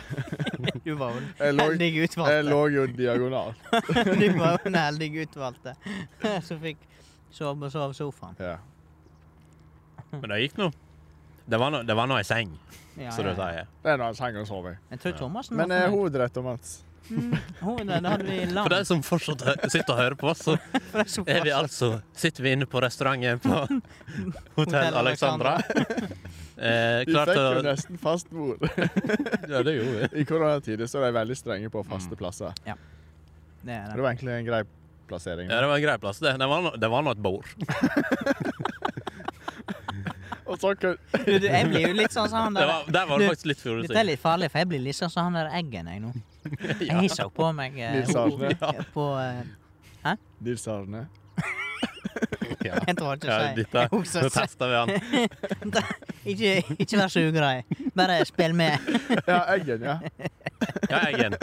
B: Du var jo
C: Jeg
B: den
C: lå,
B: heldige
C: jeg
B: utvalgte.
C: lå jo diagonalt.
B: Du var jo den heldige utvalgte som fikk sove på sovesofaen.
C: Ja.
A: Men det gikk nå. Det var nå- det var nå ei seng,
B: Ja,
A: som du
B: ja.
A: sier.
C: Det er nå en seng å sove i.
B: Jeg tror Thomassen var
C: Men eh,
B: fornøyd.
C: hovedrett og Mats.
B: Mm, Hodet, det hadde vi
A: For de
B: langt.
A: som fortsatt hø sitter og hører på, så
B: For det som
A: er vi
B: fortsatt-
A: altså Sitter vi inne på restauranten på Hotell
B: Hotel
A: Alexandra. Eh,
C: Vi
A: klart
C: fikk jo
A: å
C: nesten fast bord.
A: Ja, det gjorde vi. Mm.
C: I koronatider så er de veldig strenge på faste plasser.
B: Det er
C: Det
B: det.
C: var egentlig en grei plassering.
A: Ja, det var en grei plass. Det, det var nå- det var nå et bord.
C: Og så kan-
B: Du, du, jeg blir jo litt sånn som han
A: Det
B: der.
A: var, der var det
B: Du,
A: faktisk litt fjor
B: Dette er litt farlig, for jeg blir litt sånn som han der Eggen jeg nå. Jeg så på meg eh,
C: Nils Arne.
A: Ja,
B: på eh,
C: Nils Arne.
A: ja.
B: Jeg tror ikke
A: ja
B: å si.
A: dette,
B: Jeg husker
A: nå
B: ikke.
A: tester vi han.
B: Ikke, ikke vær så ugrei. Bare spill med.
C: Ja, Eggen, ja.
A: Ja, Eggen.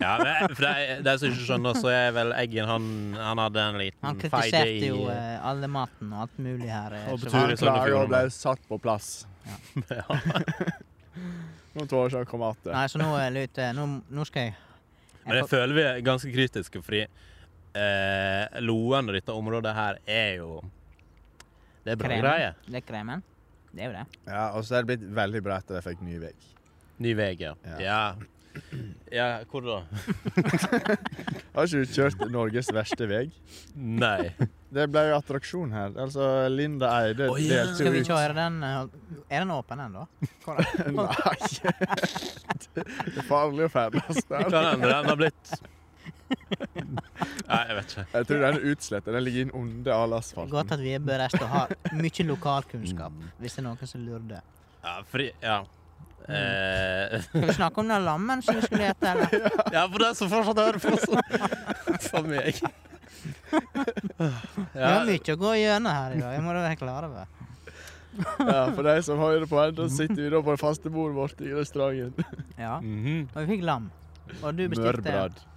A: Ja, men jeg- for de de som ikke skjønner, så er vel Eggen Han, han hadde en liten
B: Han
A: feide
B: kritiserte jo
A: i
B: eh, alle maten og alt mulig her. eh,
A: Mm, Og
B: så-
A: betyr-
C: Han
A: i Sogn og
C: klager og ble
A: Fjordane.
C: satt på plass.
A: ja.
C: Nå tør ikke han komme tilbake.
B: Nei, så nå er det ute. Nå, nå skal jeg
A: Men det føler vi er ganske kritiske, fordi eh, Loen og dette området her er jo Det er bra
B: Kremen.
A: greier.
B: Det er kremen. Det er jo det.
C: Ja, og så er det blitt veldig bra etter at jeg fikk ny vei.
A: Ny vei, ja.
C: Ja.
A: ja. Ja, hvor da?
C: Har ikke du kjørt Norges verste vei?
A: Nei.
C: Det ble jo attraksjon her. Altså, Linda Eide
A: Å, ja.
C: delte
B: Skal vi
C: jo ut.
B: kjøre den eh, Er den åpen ennå?
C: Nei. Det er farlig å ferdes
A: Kan
C: der.
A: hende den har blitt Nei, jeg vet ikke.
C: Jeg tror den er utslettet. Den ligger inn under all asfalten.
B: Godt at vi er bereist og har mye lokalkunnskap,
A: Mm.
B: hvis det er noen som lurer det.
A: Ja, fri... Ja. Eh,
B: Skal vi snakke om den lammen som vi skulle ete, eller?
A: ja, for den som fortsatt hører på, så For meg.
B: Vi har
A: Ja,
B: mye å gå gjennom her i dag, det må du være klar over.
C: Ja, for de som hører på ennå, sitter vi da på det faste bordet vårt i restauranten.
B: Ja.
A: mhm.
B: Og vi fikk lam. Og du bestilte
C: Mørbrad.
B: og-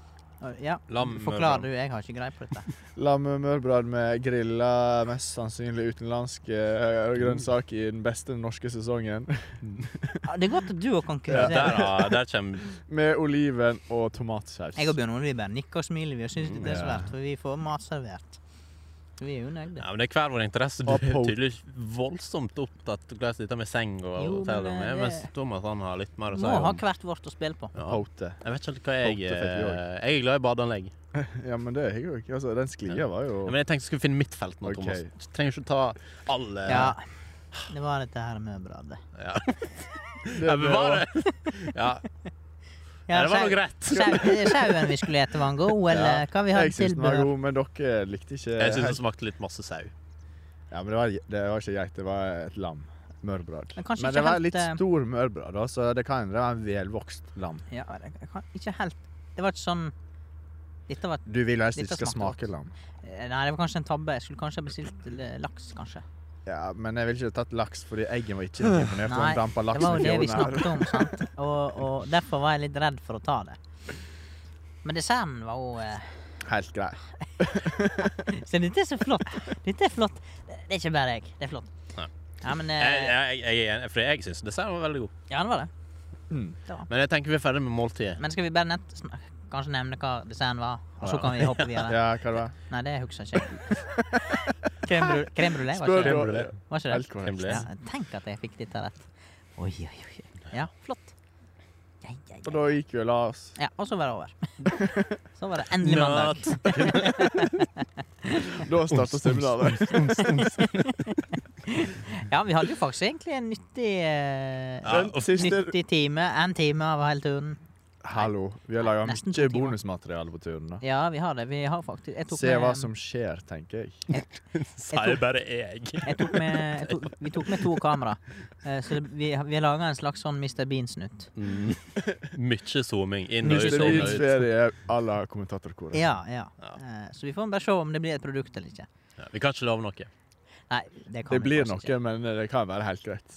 B: Ja,
A: Lam
B: forklar du, jeg har ikke greie på dette.
C: Lammemørbrad med grilla, mest sannsynlig utenlandske eh,
A: Mm.
C: grønnsaker i den beste norske sesongen.
B: Ja, Det er godt at du òg kan
A: Ja, der,
B: kritisere.
A: har- der kommer
C: Med oliven og tomatsaus.
B: Jeg og Bjørn Ole vi bare nikker og smiler vi og syns det er
C: Ja.
B: svært, for vi får mat servert. Så vi er jo nøyde.
A: Ja, men det er hver vår interesse. Du
C: Og
A: er
C: po-
A: tydeligvis voldsomt opptatt av hvordan dette med seng og
B: Jo, men
A: hotellrom er,
B: det-
A: mens Thomas han har litt mer å si
B: Må ha
A: om.
B: hvert vårt å spille på.
A: Ja.
C: Pote.
A: Jeg vet ikke helt hva jeg
C: Pote
A: eh,
C: fikk vi
A: Jeg er glad i badeanlegg.
C: Ja, men det er jeg jo ikke. Altså, den sklia var jo
A: Ja, men jeg tenkte jeg skulle finne mitt felt nå,
C: Ok.
A: Thomas. Du trenger ikke ta alle
B: Ja. Det var dette her med bradet.
A: ja.
C: Det
A: Jeg
C: var-
A: bevarer. Ja. ja,
B: Ja,
A: det var
B: sau-
A: nok rett.
B: sau- Sauen vi skulle ete, var han god, eller
C: Ja,
B: hva vi hadde
C: Jeg syns den var
B: tilbud?
C: god, men dere likte ikke
A: Jeg syns det smakte litt masse sau.
C: Ja, men det var, det var ikke geit, det var et lam. Mørbrad.
B: Men kanskje
C: Men
B: ikke
C: det var
B: helt,
C: litt
B: eh,
C: stor mørbrad, da, så det kan hende det var en velvokst lam.
B: Ja, jeg- jeg kan ikke helt Det var ikke sånn Dette var
C: Du vil helst
B: Dette
C: ikke skal smake
B: smakte godt.
C: lam.
B: eh, Nei, det var kanskje en tabbe. Jeg skulle kanskje ha bestilt eh, laks, kanskje.
C: Ja, men jeg ville ikke tatt laks, fordi eggen var ikke like imponert.
B: Nei,
C: Nei, dampa
B: Det var
C: laksen
B: jo
C: i
B: det vi
C: fjorden her.
B: snakket om, sant? Og, og derfor var jeg litt redd for å ta det. Men desserten var jo eh,
C: Helt grei.
B: Så dette er så flott. Dette er flott. Det er ikke bare jeg. Det er flott.
A: Nei.
B: Ja, men eh,
A: Jeg, jeg, jeg, er enig, for jeg syns desserten var veldig god.
B: Ja, det var det.
C: Mm.
B: det var.
A: Men jeg tenker vi er ferdig med måltidet.
B: Men skal vi bare nett snak- kanskje nevne hva desserten var, og
A: Å,
B: så
A: ja.
B: kan vi hoppe videre?
C: Ja, hva det var
B: Nei, det husker jeg ikke. Crème brûlée- Crème brulé, var
C: Spør
B: ikke det?
A: Crème brûlée.
B: Var ikke
C: Helt
B: det?
C: korrekt.
A: Hemmelig.
B: Ja, tenk at jeg fikk dette rett. Oi, oi, oi. Ja, flott. Ja, ja,
C: Og
B: ja.
C: da gikk vi og la oss.
B: ja, og så var det over. Så var det endelig mandag.
C: Da starta seminaret.
B: Ja, vi hadde jo faktisk egentlig en nyttig, eh,
A: Ja,
C: Den
A: og
C: siste
B: nyttig time. En time av hele turen.
C: Hallo. Vi har laga
B: Nesten
C: mye
B: to timer.
C: bonusmateriale på turen. da
B: Ja, vi har det. Vi har faktisk Jeg tok
C: Se hva
B: med,
C: som skjer, tenker jeg.
A: Sier bare jeg.
B: jeg tok med jeg tok, Vi tok med to kamera. Eh, så det, vi, vi laga en slags sånn Mr. Bean-snutt.
A: Mm. Mye zooming inn og ut.
C: Mr.
A: Inn
C: Beans
A: og ut.
C: ferie à la kommentatorkoret.
B: Ja, ja.
A: Ja.
B: Eh, så vi får bare se om det blir et produkt eller ikke.
A: Ja, vi kan ikke love noe.
B: Nei, det kan
C: Det
B: vi
C: blir
B: faktisk
C: noe, men det kan være helt greit.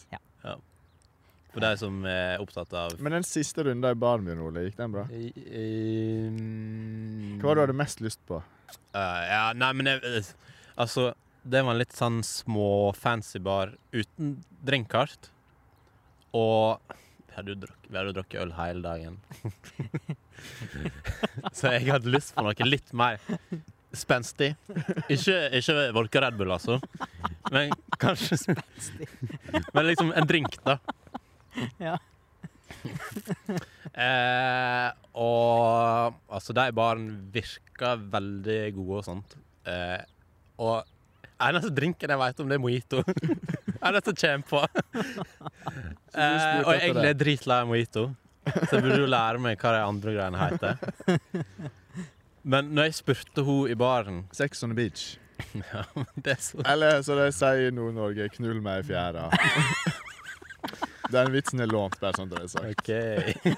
A: For de som er opptatt av
C: Men den siste runden i baren min, Ole, gikk den bra? Hva var det du hadde mest lyst på?
A: Eh, ja, nei, men jeg, eh, Altså, det var en litt sånn små fancy bar uten drinkkart. Og vi hadde jo drukket, vi hadde jo drukket øl hele dagen. Så jeg hadde lyst på noe litt mer spenstig. Ikke, ikke Volker Red Bull, altså. Men kanskje spenstig. Men liksom en drink, da.
B: Ja.
A: eh, og altså, de barene virka veldig gode og sånt. Eh, og eneste drinken jeg veit om, det er mojito. eneste jeg kommer på.
C: Så du
A: Eh,
C: spurte
A: og
C: etter
A: egentlig er jeg dritlei av mojito, så jeg burde jo lære meg hva de andre greiene heter. Men når jeg spurte hun i baren
C: Sex on the beach.
A: ja, det er så,
C: Eller som de sier i Nord-Norge, 'knull meg i fjæra'. Den vitsen er lånt, bare sånn det er sagt.
A: OK.
B: ikke.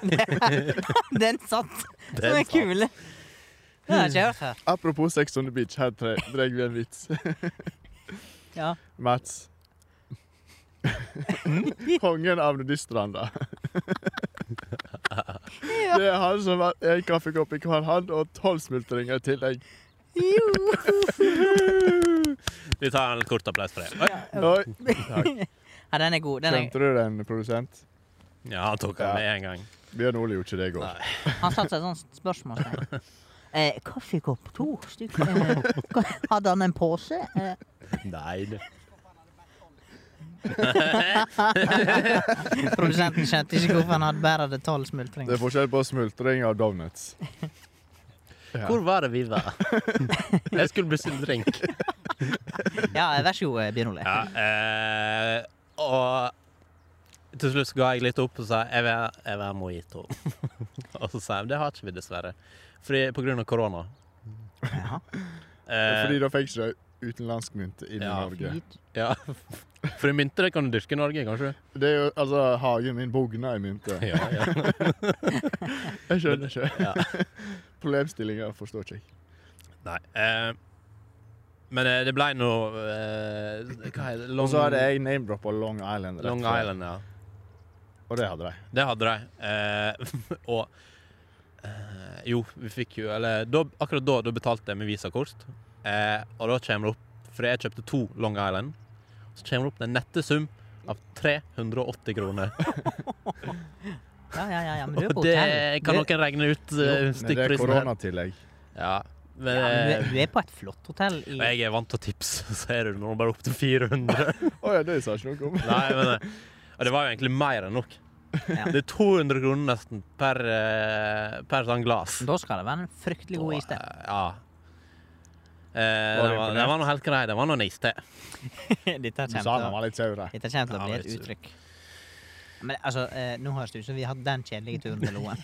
B: Den satt!
A: Det
B: Den
A: er
B: er kule. Den har jeg ikke hørt før.
C: Apropos Sex on the beach, her tre- drar vi en vits.
B: Ja.
C: Mats. Kongen av nudiststranda. Det er han som har en kaffekopp i hver hand og tolv smultringer i tillegg.
A: Vi tar en kort applaus for det. Oi.
C: Oi, takk.
B: ja, den er god. Den er,
C: Skjønte du den, produsent?
A: Ja, han tok den med en gang.
C: Bjørn Ole gjorde ikke det i går.
B: han satte seg et sånt spørsmål. Eh, kaffekopp, to stykker. Eh, ka- hadde han en pose? Eh,
A: Nei, det.
B: produsenten skjønte ikke hvorfor han hadde bare hadde tolv smultringer.
C: Det er forskjell på smultring og donuts. Ja.
A: Hvor var det vi var? Jeg skulle bestille drink.
B: Ja, vær så god, eh, Bjørn Ole.
A: Ja, eh, og til slutt så ga jeg litt opp og sa jeg vil, ha- jeg vil ha mojito. og så sa jeg det har ikke vi dessverre. Fordi, på grunn av korona.
B: Ja.
C: Fordi
A: Eh,
C: da fikk ikke de utenlandsk mynt inn i
A: Ja.
C: Norge.
B: Fint.
A: ja. For mynter kan du dyrke i Norge, kanskje?
C: Det er jo, altså, Hagen min bugner i mynter.
A: Ja, ja.
C: Jeg skjønner ikke.
A: Ja.
C: Problemstillinga forstår ikke jeg.
A: Nei. Eh, men eh, det ble nå eh, Hva er det?
C: Og
A: Long,
C: så hadde jeg name-droppa Long Island. rett
A: Long
C: før.
A: Island, ja.
C: Og det hadde de.
A: Det hadde de. Eh, og eh, jo, vi fikk jo Eller da, akkurat da, da betalte jeg med visakort. Eh, og da kommer det opp For jeg kjøpte to Long Island. Så kommer det opp den nette sum av 380 kroner.
B: Ja, ja, ja, ja, men du er
A: Og
B: på hotell.
A: det kan
B: Du-
A: noen regne ut eh,
C: Jo, men det er
A: stykkprisen her.
C: koronatillegg.
A: Ja, men,
B: Ja, men du,
A: eh,
B: er, du er på et flott hotell i
A: jeg er vant til å tipse, så er det nå bare opp til 400.
C: Å ja, det sa jeg ikke noe om.
A: Nei, men eh, Og det var jo egentlig mer enn nok.
B: Ja.
A: Det er 200 kroner nesten per, eh, per sånn glass.
B: Da skal det være en fryktelig god iste.
A: Ja. Eh,
C: Var du
A: det, var, det
C: imponert?
A: var noe helt greit. Det var noe nice til.
C: Du
B: Dette kommer
C: sa
B: til
C: han
B: å-
C: var litt saur.
B: dette kommer til å
A: Ja,
B: bli
A: det
B: et
A: er ikke så-
B: uttrykk. Men altså, eh, nå høres det ut som vi har hatt den kjedelige turen til Loen.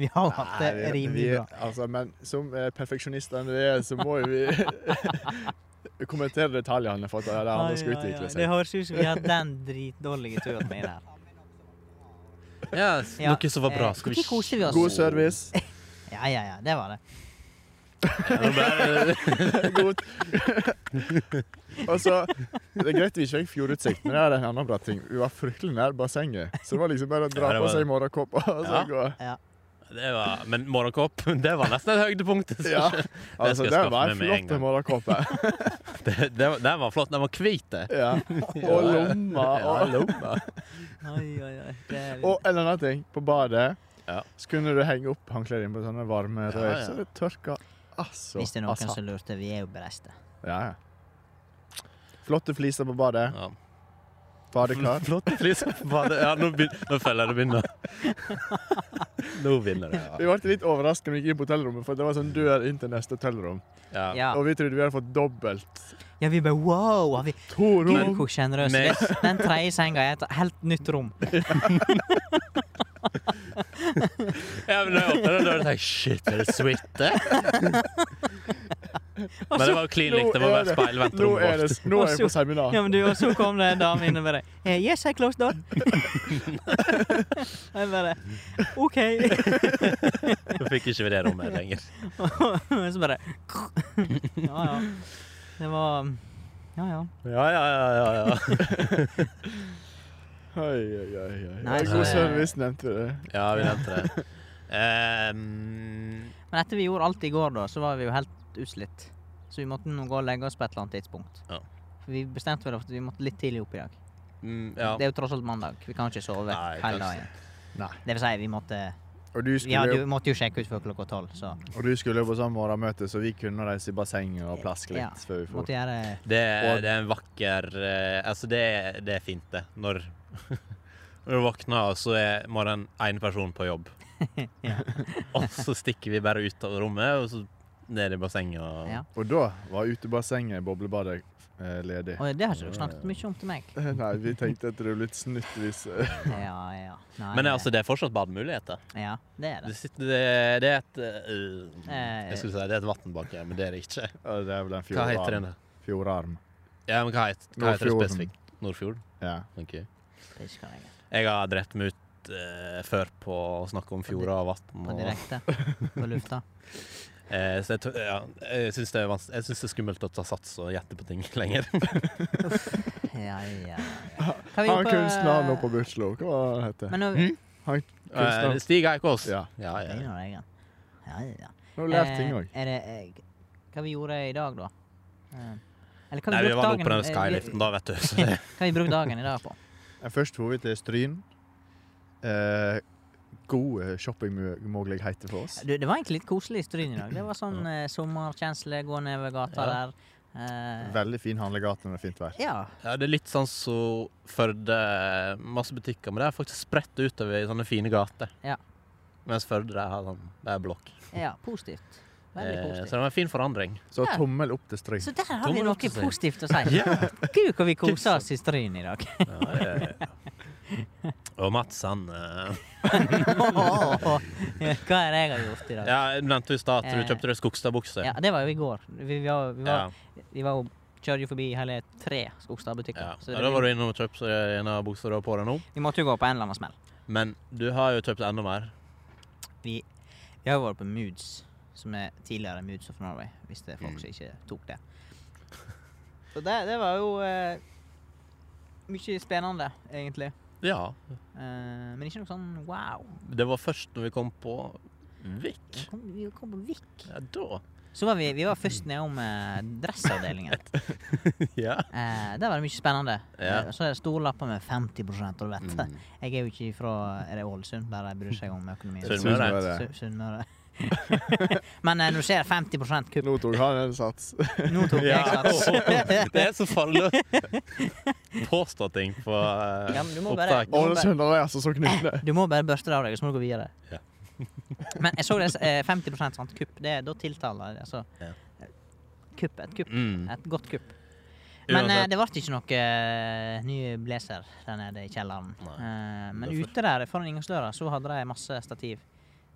B: Vi har jo hatt det rimelig bra.
C: Altså, men som eh, perfeksjonistene vi er, så må jo vi kommentere detaljene for at de
B: Ai,
C: andre skal
B: ai, ai.
C: utvikle
B: Det
C: seg.
B: høres ut som vi har hatt den dritdårlige turen med der.
A: Ja, s-
B: Ja,
A: Noe som var bra. Skal vi
B: eh, hvor koser vi oss?
C: God service.
B: Ja, ja, ja, det var det.
A: Nå ble-
C: God Og så Det er greit vi ikke fikk fjordutsikt, men det er en annen bra ting. Vi var fryktelig nær bassenget, så det var liksom bare å dra
A: Ja, det
C: på
A: var-
C: seg morgenkåpa og så
A: Ja.
C: gå.
A: det var, men morgenkåp, det var nesten et høydepunkt.
C: Ja. Altså,
A: jeg
C: det
A: skaffe
C: var
A: meg
C: en
A: med en
C: flott
A: gang.
C: morgenkåpe.
A: Det, det, var- den var flott. Den var hvit. det.
C: Ja. Og lomma
A: Ja,
C: og
A: lomma.
B: Oi, oi, oi. Det er...
C: Og en annen ting, på badet
A: Ja.
C: så kunne du henge opp håndkleet ditt på sånne varme
A: Ja,
C: rør,
A: ja.
C: så det tørka altså
B: Hvis det er noen
C: altså.
B: som lurte, vi er jo bereiste.
C: Ja, ja. Flotte fliser på badet.
A: Ja.
C: Badekar.
A: Flott pris. Bare- Ja, nå, begyn- nå føler jeg det begynner. Nå vinner det.
C: Vi ble litt overrasket når vi gikk inn på hotellrommet, for det var sånn dør inn til neste hotellrom.
A: Ja. ja.
B: Ja.
C: Og vi trodde vi hadde fått dobbelt.
B: ja, vi bare wow! Har vi
C: To
B: Gud,
C: rom!
B: hvor sjenerøse.
A: Men-
B: Det- Den tredje senga er et helt nytt rom.
A: men når jeg åpner den døren, tenker jeg shit, er det suite? Men det var jo clean likt. Det var
C: Altså, Nå er
A: bare
C: det-
A: speilvendt
C: Nå er,
A: rommet vårt.
C: det, nå er jeg på seminar.
B: Ja, men du, Og så kom det en dame inne med deg. Eh, yes, I closed door. jeg bare OK.
A: Så fikk ikke vi det rommet lenger.
B: Og så bare Ja, ja. Det var Ja, ja.
A: Ja, ja, ja. ja, ja.
C: Oi, oi, oi, oi.
B: Nei,
C: God
A: så-
C: service, nevnte vi det.
A: Ja, vi nevnte det. Ehm,
B: Men etter vi gjorde alt i går, da, så var vi jo helt utslitt. Så vi måtte nå gå og legge oss på et eller annet tidspunkt.
A: Ja.
B: For vi bestemte vel at vi måtte litt tidlig opp i dag.
A: mm, ja.
B: Det er jo tross alt mandag. Vi kan ikke sove
A: Nei, kanskje.
B: hele dagen.
C: Nei.
B: Det vil si, vi måtte
C: Og du
B: Vi hadde
C: skulle,
B: jo, måtte jo sjekke ut før klokka tolv, så
C: og du skulle jo på sånn morgenmøte, så vi kunne reise i bassenget og plaske litt
B: Ja.
C: før vi
B: vi
C: for.
B: måtte gjøre
A: Det,
C: Og-
A: er- det er en vakker eh, Altså, det, er- det er fint, det. Når, når du våkner, så er bare den ene personen på jobb.
B: Ja.
A: og så stikker vi bare ut av rommet, og så ned i bassenget og
B: Ja.
C: Og da var utebassenget, boblebadet, eh, ledig.
B: Og det har ikke du snakket mye om til meg.
C: Nei, vi tenkte at det var litt snytt hvis eh,
B: Ja, ja. Nei,
A: Men altså, det er fortsatt bademuligheter.
B: Ja, det er
A: Det,
B: det.
A: sitter, det, det er et eh,
B: Eh.
A: Jeg skulle si det er et vann bak her, men det er det ikke.
C: ja, Det er vel en
A: Hva heter den?
C: fjordarm.
A: da?
C: Fjordarm.
A: Ja, men hva heter, hva heter det
C: Nordfjorden.
A: spesifikt? Nordfjord?
C: Ja.
A: Ok.
B: det er ikke hva jeg er.
A: Jeg har drept meg ut eh, før på å snakke om fjorder og vann.
B: På
A: Og,
B: direkte. På lufta.
A: eh, så jeg, tør- ja, jeg syns det, er vans- jeg syns det er skummelt å ta sats og gjette på ting lenger.
B: Ja, ja, ja. Hva
C: Han
B: vi gjorde
C: kunstneren nå på Hm? Buslo, hva var det han heter
B: Men nå
A: Mm?
C: Han
A: Eh,
C: kunstneren
A: Stig Eikås.
C: Ja.
A: Ja, ja,
B: Det er
A: ja.
B: jo noe jeg er. Ja, ja, ja.
C: Nå har du lært ting
B: Eh,
C: òg.
B: Er det eh, Hva vi gjorde i dag, da? Eh, Eller hva
A: Nei,
B: vi
A: vi var nå
B: brukte
A: på den
B: dagen eh,
A: skyliften, da, vet du. Så det,
B: Hva vi brukte dagen i dag på?
C: Først dro vi til Stryn. Eh, gode shoppingmuligheter for oss.
B: Du, det var egentlig litt koselig i Stryn i dag. Det var sånn eh, sommerkjensle, gå nedover gata
A: Ja.
B: der. Eh,
C: Veldig fin handlegate når det er fint vær.
B: ja.
A: ja, det er litt sånn som Førde. Masse butikker, men det er faktisk spredt utover i sånne fine gater.
B: Ja.
A: Mens Førde det har sånn, det er blokk.
B: ja, positivt. Veldig
A: Eh, så
B: positivt.
A: det var en fin forandring.
C: Så
B: Ja.
C: tommel opp til Stryn.
B: Så der har vi
A: Tommel
B: noe
A: opp til Stryn.
B: positivt å si.
A: Ja.
B: Gud, hvor vi koser oss i Stryn i dag.
A: Ja, ja, ja. Og Mats, han eh,
B: Hva er det jeg har gjort i dag?
A: Ja, du nevnte jo i stad at du kjøpte deg Skogstadbukse.
B: Eh, Ja, det var jo i går. Vi, vi, var, vi,
A: Ja.
B: var, vi var, jo- kjørte jo forbi hele tre Skogstad-butikker.
A: Ja.
B: så
A: ja,
B: det-
A: Da var du innom og kjøpte en av buksene du har på deg nå.
B: Vi måtte jo gå på en eller annen smell.
A: Men du har jo kjøpt enda mer.
B: Vi, vi har jo vært på Moods, som er tidligere Moods of Norway, hvis det er folk
A: Mm.
B: som ikke tok det. Så det, det var jo eh, mye spennende, egentlig.
A: Ja.
B: Eh, men ikke noe sånn wow.
A: Det var først når vi kom på Vik.
B: Vi kom, vi kom på Vik.
A: Ja, da.
B: Så var vi, vi var først
A: Mm.
B: nedom eh, dressavdelingen.
A: Ja.
B: Eh, der var det mye spennende.
A: Ja.
B: Eh, så er det store lapper med 50 og du vet.
A: Mm.
B: Jeg er jo ikke fra Er det Ålesund, der de bryr seg om økonomien?
A: Sunnmøre.
C: Sunnmøre.
B: Su- Sunnmøre. Men eh, når du ser 50 kupp
C: Nå tok han en sats.
B: Nå tok jeg
A: Ja.
B: sats.
A: Det er så farlig å påstå ting på eh,
B: Ja, men du må bare-
A: opptak.
C: Ålesund er altså så knutne.
B: Du må bare børste det av deg, så må du gå videre.
A: Ja.
B: Men jeg så det eh, 50 sant, kupp. Det er da tiltaler altså.
A: Ja.
B: Kupp, et kupp.
A: Mm.
B: Et godt kupp. Men eh,
A: Uansett.
B: det ble ikke noe eh, ny blazer der nede i kjelleren.
A: Nei.
B: Eh, men
A: Derfor.
B: ute der foran inngangsdøra så hadde de masse stativ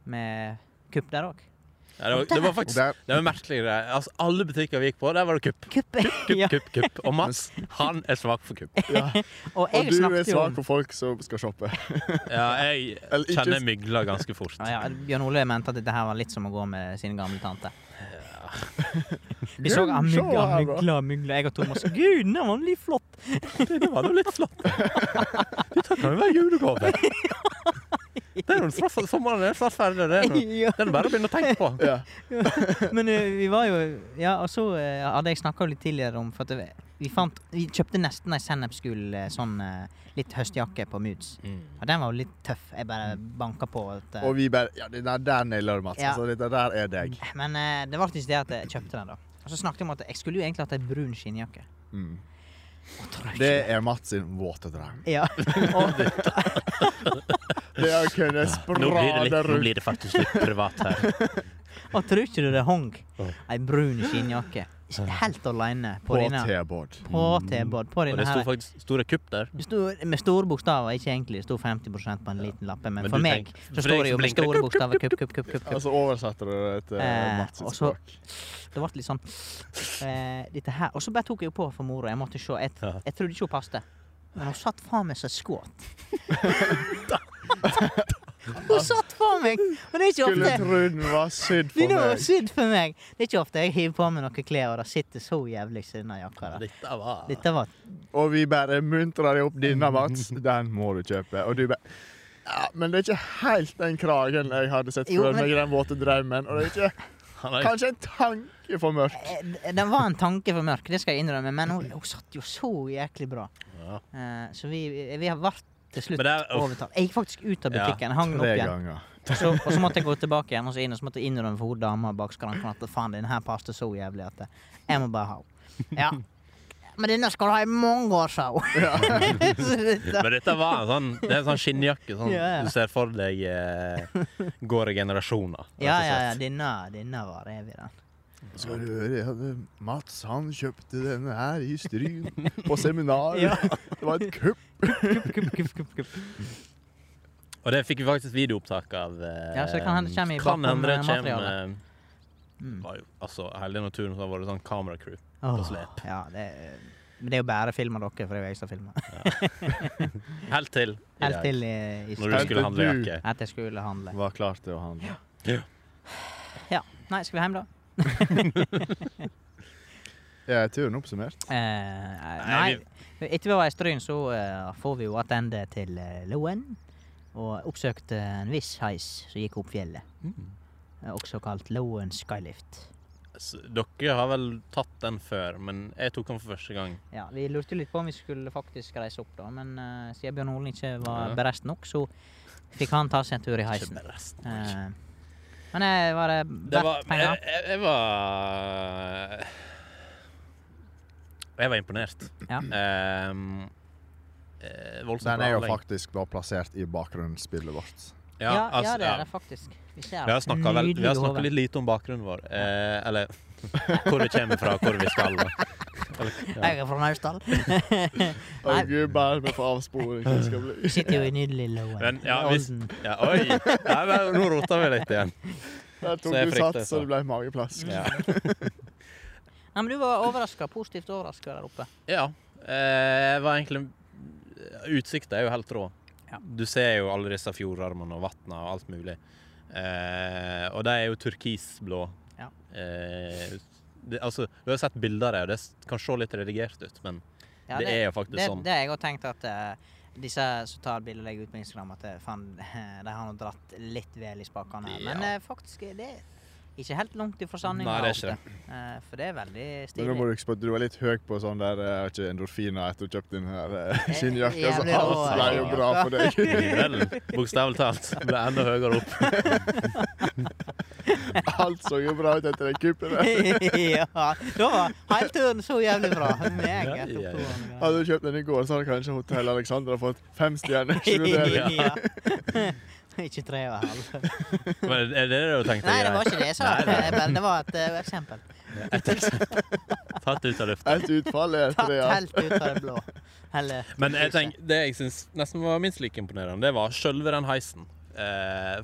B: med kupp der òg.
A: Ja, det, var, det var faktisk
C: Der,
A: det var merkelig. Det. Altså, alle butikker vi gikk på, der var det kupp.
B: Kupp!
A: Kupp,
B: ja.
A: kupp, kupp. Og Mats, han er svak for kupp.
C: ja.
B: Og
C: Og
B: jeg
C: du er
B: snakket jo
C: svak
B: om
C: for folk som skal shoppe.
A: Ja, jeg
C: Eller ikke-
A: kjenner mygler ganske fort.
B: ja, ja, Bjørn Ole mente at dette her var litt som å gå med sin gamle tante. Vi så
C: Gud,
B: ah,
C: se
B: mygla,
C: her, da.
B: mygla, mygla. Jeg og Thomas Gud, den var litt flott!
A: Det var da litt flott. Dette kan jo være julegave. Det er jo straff, sommeren er snart ferdig. Det er, noe,
B: Ja.
A: det er bare å begynne å tenke på.
C: Ja.
B: Men eh, vi var jo Ja, og så eh, hadde jeg snakka litt tidligere om For at det- vi fant Vi kjøpte nesten ei sennepsgul eh, sånn eh, litt høstjakke på Moods.
A: Mm.
B: Og den var jo litt tøff. Jeg bare banka på. At, eh,
C: Og vi bare Ja, det der, der nailer du, Mats.
B: Ja.
C: Altså, dette der er deg.
B: men eh, det var ikke det at jeg kjøpte den, da. Og så snakket jeg om at jeg skulle jo egentlig hatt ei brun skinnjakke.
C: Mm. Det er Mats sin våte drøm.
B: Ja. Og,
C: Det er å
A: Nå blir, det
C: kunne
A: litt,
C: sprade
A: nå
C: rundt.
A: blir det faktisk litt privat her.
B: og tror ikke du det hang
A: Oi.
B: ei brun skinnjakke helt alene på
C: På
B: denne
C: T-båt.
B: på T-båd? På
A: Og
B: denne
A: det sto
B: her.
A: faktisk store kupp der.
B: Det sto med store bokstaver, ikke egentlig. Det sto 50 på en liten lappe, men,
A: Men du
B: for meg
A: tenk- for
B: så
A: deg
B: står det
A: så
B: jo med
A: blinker det kupp,
B: store
A: kupp,
B: bokstaver kupp, kupp, kupp, kupp, kupp.
C: Og så oversetter du det til
B: Eh,
C: Mats sitt
B: og så-
C: språk.
B: Altså, Det ble litt sånn eh, Dette her. Og så bare tok jeg jo på for mora. Jeg måtte se. Jeg,
A: Ja.
B: jeg trodde ikke hun passet. Men hun satt faen meg som et skåt. hun satt faen meg! Og det er ikke
C: Skulle
B: ofte
C: tro den var sydd
B: det
C: for
B: var
C: meg.
B: sydd for meg. Det er ikke ofte jeg hiver på meg noen klær, og det sitter så jævlig i denne jakka. der.
A: Dette var
B: Dette var
C: Og vi bare muntrer deg opp denne, Mats. Den må du kjøpe. Og du bare ja, Men det er ikke helt den kragen jeg hadde sett
B: Jo,
C: for
B: men-
C: meg i den våte drømmen. Og det er ikke
A: Han er-
C: kanskje en tanke for mørkt.
B: eh, Den var en tanke for mørk, det skal jeg innrømme, men hun, hun satt jo så jæklig bra.
A: Ja.
B: Eh, så vi, vi har vært til slutt
A: Men det er- uff.
B: overtalt. Jeg gikk faktisk ut av
A: Ja,
B: butikken, hang den opp
C: Tre
B: igjen.
C: ganger.
B: Og så, og så måtte jeg gå tilbake igjen og så inn, og så måtte jeg innrømme for hun dama bak skranken at faen, den her passet så jævlig at jeg må bare ha henne. Ja. Men denne skal du ha i mange år, sa hun. Så dette-
A: Men dette var en sånn, det er en sånn skinnjakke sånn,
B: Ja, ja.
A: du ser for deg eh, går i generasjoner. rett og
B: ja, ja, ja.
A: slett.
B: Denne, denne var evig, den.
C: Skal du høre, jeg hadde Mats han kjøpte denne her i Stryn på seminar.
B: Ja.
C: Det var et kupp.
B: Kupp, kupp, kupp, kupp, kupp.
A: Og det fikk vi faktisk videoopptak av. eh,
B: Ja, så det kan hende det kommer i
A: kan hende det
B: bakgrunn-
A: kommer,
B: materialet.
A: eh,
B: Mm.
A: var jo- Altså, Hellige naturen så har vært sånn kameracrew.
B: Åh,
A: slep.
B: Ja, det, er- men det er jo bare film av dere, for det er jo jeg som filmer.
A: Helt til i
B: Helt
A: dag,
B: til i,
A: når
B: i
C: Helt
A: du
B: stad.
C: til
A: skulle handle
C: du.
A: jakke.
B: At jeg skulle handle.
C: Var klar til å handle.
B: Nei, skal vi hjem, da?
C: Er turen oppsummert?
B: Eh,
A: Nei,
B: nei. Etter vi var i Stryn, så eh, får vi jo tilbake til eh, Loen. Og oppsøkte en viss heis som gikk opp fjellet. eh, Også kalt Loen Skylift.
A: S- Dere har vel tatt den før, men jeg tok den for første gang.
B: Ja, Vi lurte litt på om vi skulle faktisk reise opp, da, men eh, siden Bjørn Olen ikke var
A: Ja.
B: bereist nok, så fikk han ta seg en tur i
A: Ikke
B: heisen.
A: med resten.
B: Eh, men eh, var det
A: Det var eh,
B: verdt
A: jeg,
B: penger?
A: jeg, jeg var Jeg var imponert.
B: Ja.
A: Ehm, eh, voldsomt
C: Den er jo
A: planlegging.
C: faktisk da plassert i bakgrunnsspillet vårt.
B: Ja, ja,
A: altså,
B: det
A: ja.
B: er det faktisk. Vi ser
A: Vi har snakka vel- vi har
B: nydelig
A: snakket
B: hode.
A: litt lite om bakgrunnen vår. Eh, eller hvor vi kommer fra, hvor vi skal.
B: Jeg er fra Naustdal.
C: Å gud, bare med for avsporing det skal bli.
B: Sitter jo i nydelig Loen.
A: Men, ja,
B: Olden.
A: hvis- Ja, oi! Nei, men nå roter vi litt igjen.
C: Der
A: Så
C: tok
A: jeg
C: du
A: frykter
C: sats,
A: så.
C: så det ble mageplask.
B: Mm.
A: Ja.
B: Nei, men du var overraska. Positivt overraska der oppe.
A: ja eh, jeg var egentlig Utsikta er jo helt rå.
B: Ja.
A: Du ser jo alle disse fjordarmene og vatna og alt mulig. Eh, og de er jo turkisblå.
B: Ja.
A: Eh, det, altså, du har sett bilder av det, og det s- kan se litt redigert ut, men
B: Ja,
A: det, er jo faktisk
B: det,
A: sånn.
B: det har jeg òg tenkt at eh, disse som tar bilder og legger ut på Instagram, at eh, faen, de har nå dratt litt vel i spakene. her. Men
A: Ja.
B: eh, faktisk er det ikke helt langt ifra sanninga.
A: Nei, det er ikke
B: Eh, for det er veldig
C: Men nå må
B: stilig.
C: du huske på at du var litt høy på sånn der eh, ikke endorfiner etter du kjøpte den her eh,
B: Eh,
C: skinnjakka, så
B: jævlig
C: alt
A: rå
C: ble jo bra for deg.
A: Vel, bokstavelig talt. Ble enda høyere opp.
C: Alt så jo bra ut etter den kuppen der.
B: ja, da var heilturen så jævlig bra.
A: Ja,
B: Meget
A: ja, ja.
B: oppegående.
C: Hadde du kjøpt den i går, så hadde kanskje Hotell Alexandra fått fem stjerner.
A: Ja.
C: sju
B: Ikke tre og en halv.
A: Men er det det du tenkte?
B: Nei, det var ikke det jeg sa.
A: Nei, nei.
B: Jeg bare- Det var et eh, eksempel.
A: Tatt ut av lufta.
C: Et utfall er
B: Tatt
C: tre. ja.
B: helt ut av det blå. Eller
A: Men jeg
B: lyset.
A: tenk, det jeg syns nesten var minst like imponerende, det var sjølve den heisen. Eh,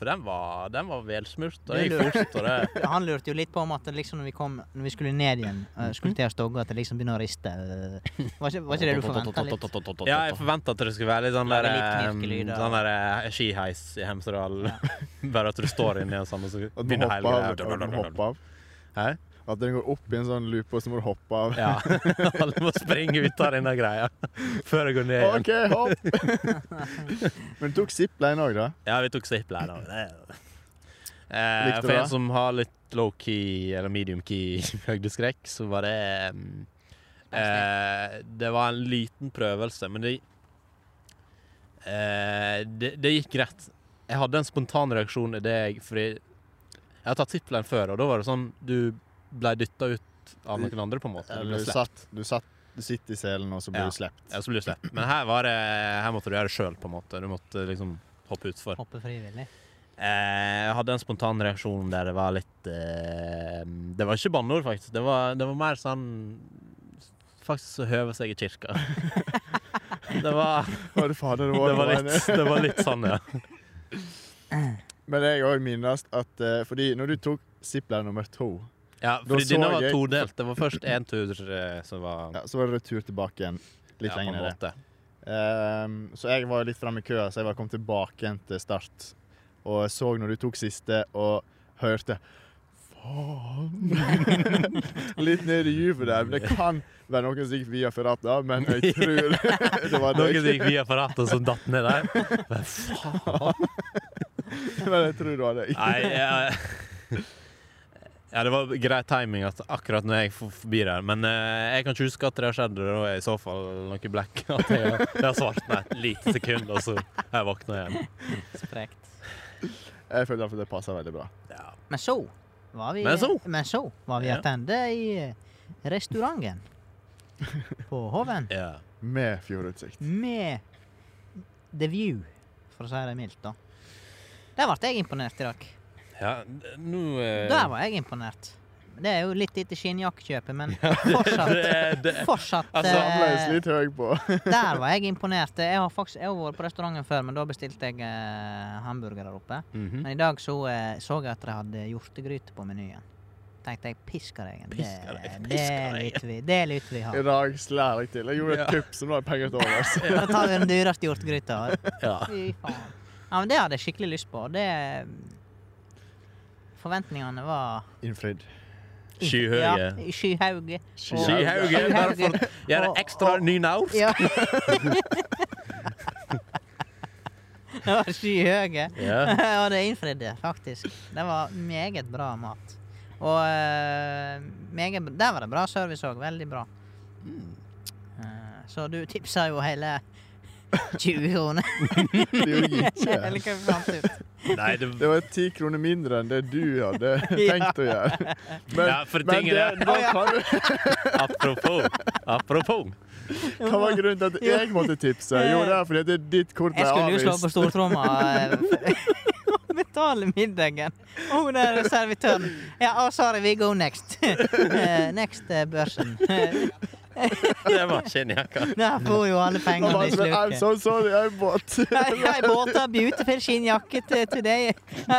A: for den var, den var velsmurt, og det
B: Det
A: gikk fort. Og det,
B: Han lurte jo litt på om at liksom når vi kom Når vi skulle ned igjen,
A: Mm-hmm.
B: eh, skulle til å stogge, at det liksom begynner å riste. eh. Var ikke, var ikke det du forventa litt?
A: ja, jeg forventa at det skulle være litt sånn der,
B: Lage litt
A: eh,
B: knirkelyd,
A: sånn der eh, skiheis i Hemsedal. Bare at du står inni en sånn, og så
C: At den
A: begynner
C: hopper av. At den
A: hele
C: hopper av.
A: Hæ?
C: At den går opp i en sånn loop, og så må du hoppe av.
A: Ja. Alle må springe ut av denne greia før det går ned igjen.
C: OK, hopp! Men du tok zipline òg, da?
A: Ja, vi tok zipline. da. Det- Eh,
C: Likte du
A: for en
C: det?
A: som har litt low key eller medium key høydeskrekk, så var det mm, eh, Det var en liten prøvelse, men det eh, det, det gikk greit. Jeg hadde en spontan reaksjon i det jeg Fordi jeg har tatt zipline før, og da var det sånn Du ble dytta ut av noen andre, på en måte. Du
C: Du
A: ble slept.
C: satt, du satt Du sitter i selen, og så blir
A: Ja.
C: du sluppet.
A: Ja, så blir du slett. Men her, var det, her måtte du gjøre det sjøl, på en måte. Du måtte liksom hoppe utfor.
B: Hoppe frivillig.
A: Eh, Jeg hadde en spontan reaksjon der det var litt eh, Det var ikke banneord, faktisk. Det var, det var mer sånn Faktisk så høver seg i kirka. Det var,
C: Å, du fader, det var,
A: det var, litt, det var litt sånn, ja.
C: Men jeg òg minnes at eh, Fordi når du tok Zipline nummer to,
A: ja fordi
C: så
A: denne var
C: jeg-
A: todelt. Det var først én tur eh, som var
C: ja, så var det retur tilbake igjen. Litt
A: ja, på
C: lenger
A: en
C: nede.
A: måte.
C: Ehm, så jeg var litt framme i køa, så jeg var kommet tilbake igjen til start. Og jeg så når du tok siste, og hørte Faen! litt ned i juvet der. Men det kan være noen som gikk via Ferrata, men jeg tror det var
A: Noen
C: deg.
A: som gikk via apparatet som datt ned der. Men faen!
C: Men jeg tror det var deg.
A: Nei, jeg, ja, det var grei timing at akkurat når jeg for- forbi der. Men eh, jeg kan ikke huske at det har skjedd. Det var i så fall noe black. At jeg, det har svartna et lite sekund, og så har jeg våkna igjen.
B: Sprekt.
C: Jeg føler iallfall det passer veldig bra.
A: Ja.
B: Men så var vi
A: Men så?
B: men så var vi
A: Ja.
B: attende i eh, restauranten på Hoven
A: Ja.
C: Med fjordutsikt.
B: med The View, for å si det mildt, da. Der ble jeg imponert i dag.
A: ja nå eh,
B: Der var jeg imponert. Det er jo litt etter skinnjakkekjøpet, men fortsatt,
A: det- det-
B: fortsatt
A: Altså,
C: Samles
B: eh,
C: litt høy på.
B: Der var jeg imponert. Jeg har faktisk jeg har vært på restauranten før, men da bestilte jeg eh, hamburger der oppe.
A: Mhm.
B: Men i dag så, eh, så jeg at de hadde hjortegryte på menyen. Tenkte jeg pisker deg. Det,
A: Pisker deg,
B: det
A: pisker deg.
B: lytter vi Det lytter vi
C: I
B: har.
C: dag slår jeg til. Jeg gjorde et
A: Ja.
C: kupp, så nå har jeg penger til overs.
B: Da tar vi den dyreste hjortegryta.
A: ja.
B: Fy faen. Ja, men det hadde jeg skikkelig lyst på. og Det Forventningene var
C: Innfridd.
A: Skyhøye.
B: Ja, skyhauge.
C: Skyhauge.
A: Skyhauge, bare for å gjøre ekstra nynorsk.
B: Ja. det var skyhøye.
A: Ja.
B: og det innfridde, faktisk. Det var meget bra mat. Og eh, meget, der var det bra service òg. Veldig bra. Eh, så du tipsa jo hele 20 kroner.
C: Det gjorde jeg
B: Eller
C: ikke.
B: hva vi fant ut.
A: Nei, det,
C: Det var ti kroner mindre enn det du hadde tenkt å gjøre. Men,
A: Ja, for
C: men
A: ting er-
C: det, da kan du
A: apropos. Apropos.
C: Hva var grunnen til at jeg måtte tipse? Jo, det er fordi det er ditt kort ble
B: Jeg skulle jo slå på
C: avvist.
B: stortromma eh, og betale middagen. Og hun der servitøren Ja, oh, sorry, we go next. Eh, next eh, børsen.
A: Det var skinnjakka.
B: Der får jo alle
C: Og
B: pengene
C: bare
B: i
C: sånn, I'm
B: sluket.
C: so sorry, I'm bought.
B: I, I bought a beautiful skinnjakke to, today.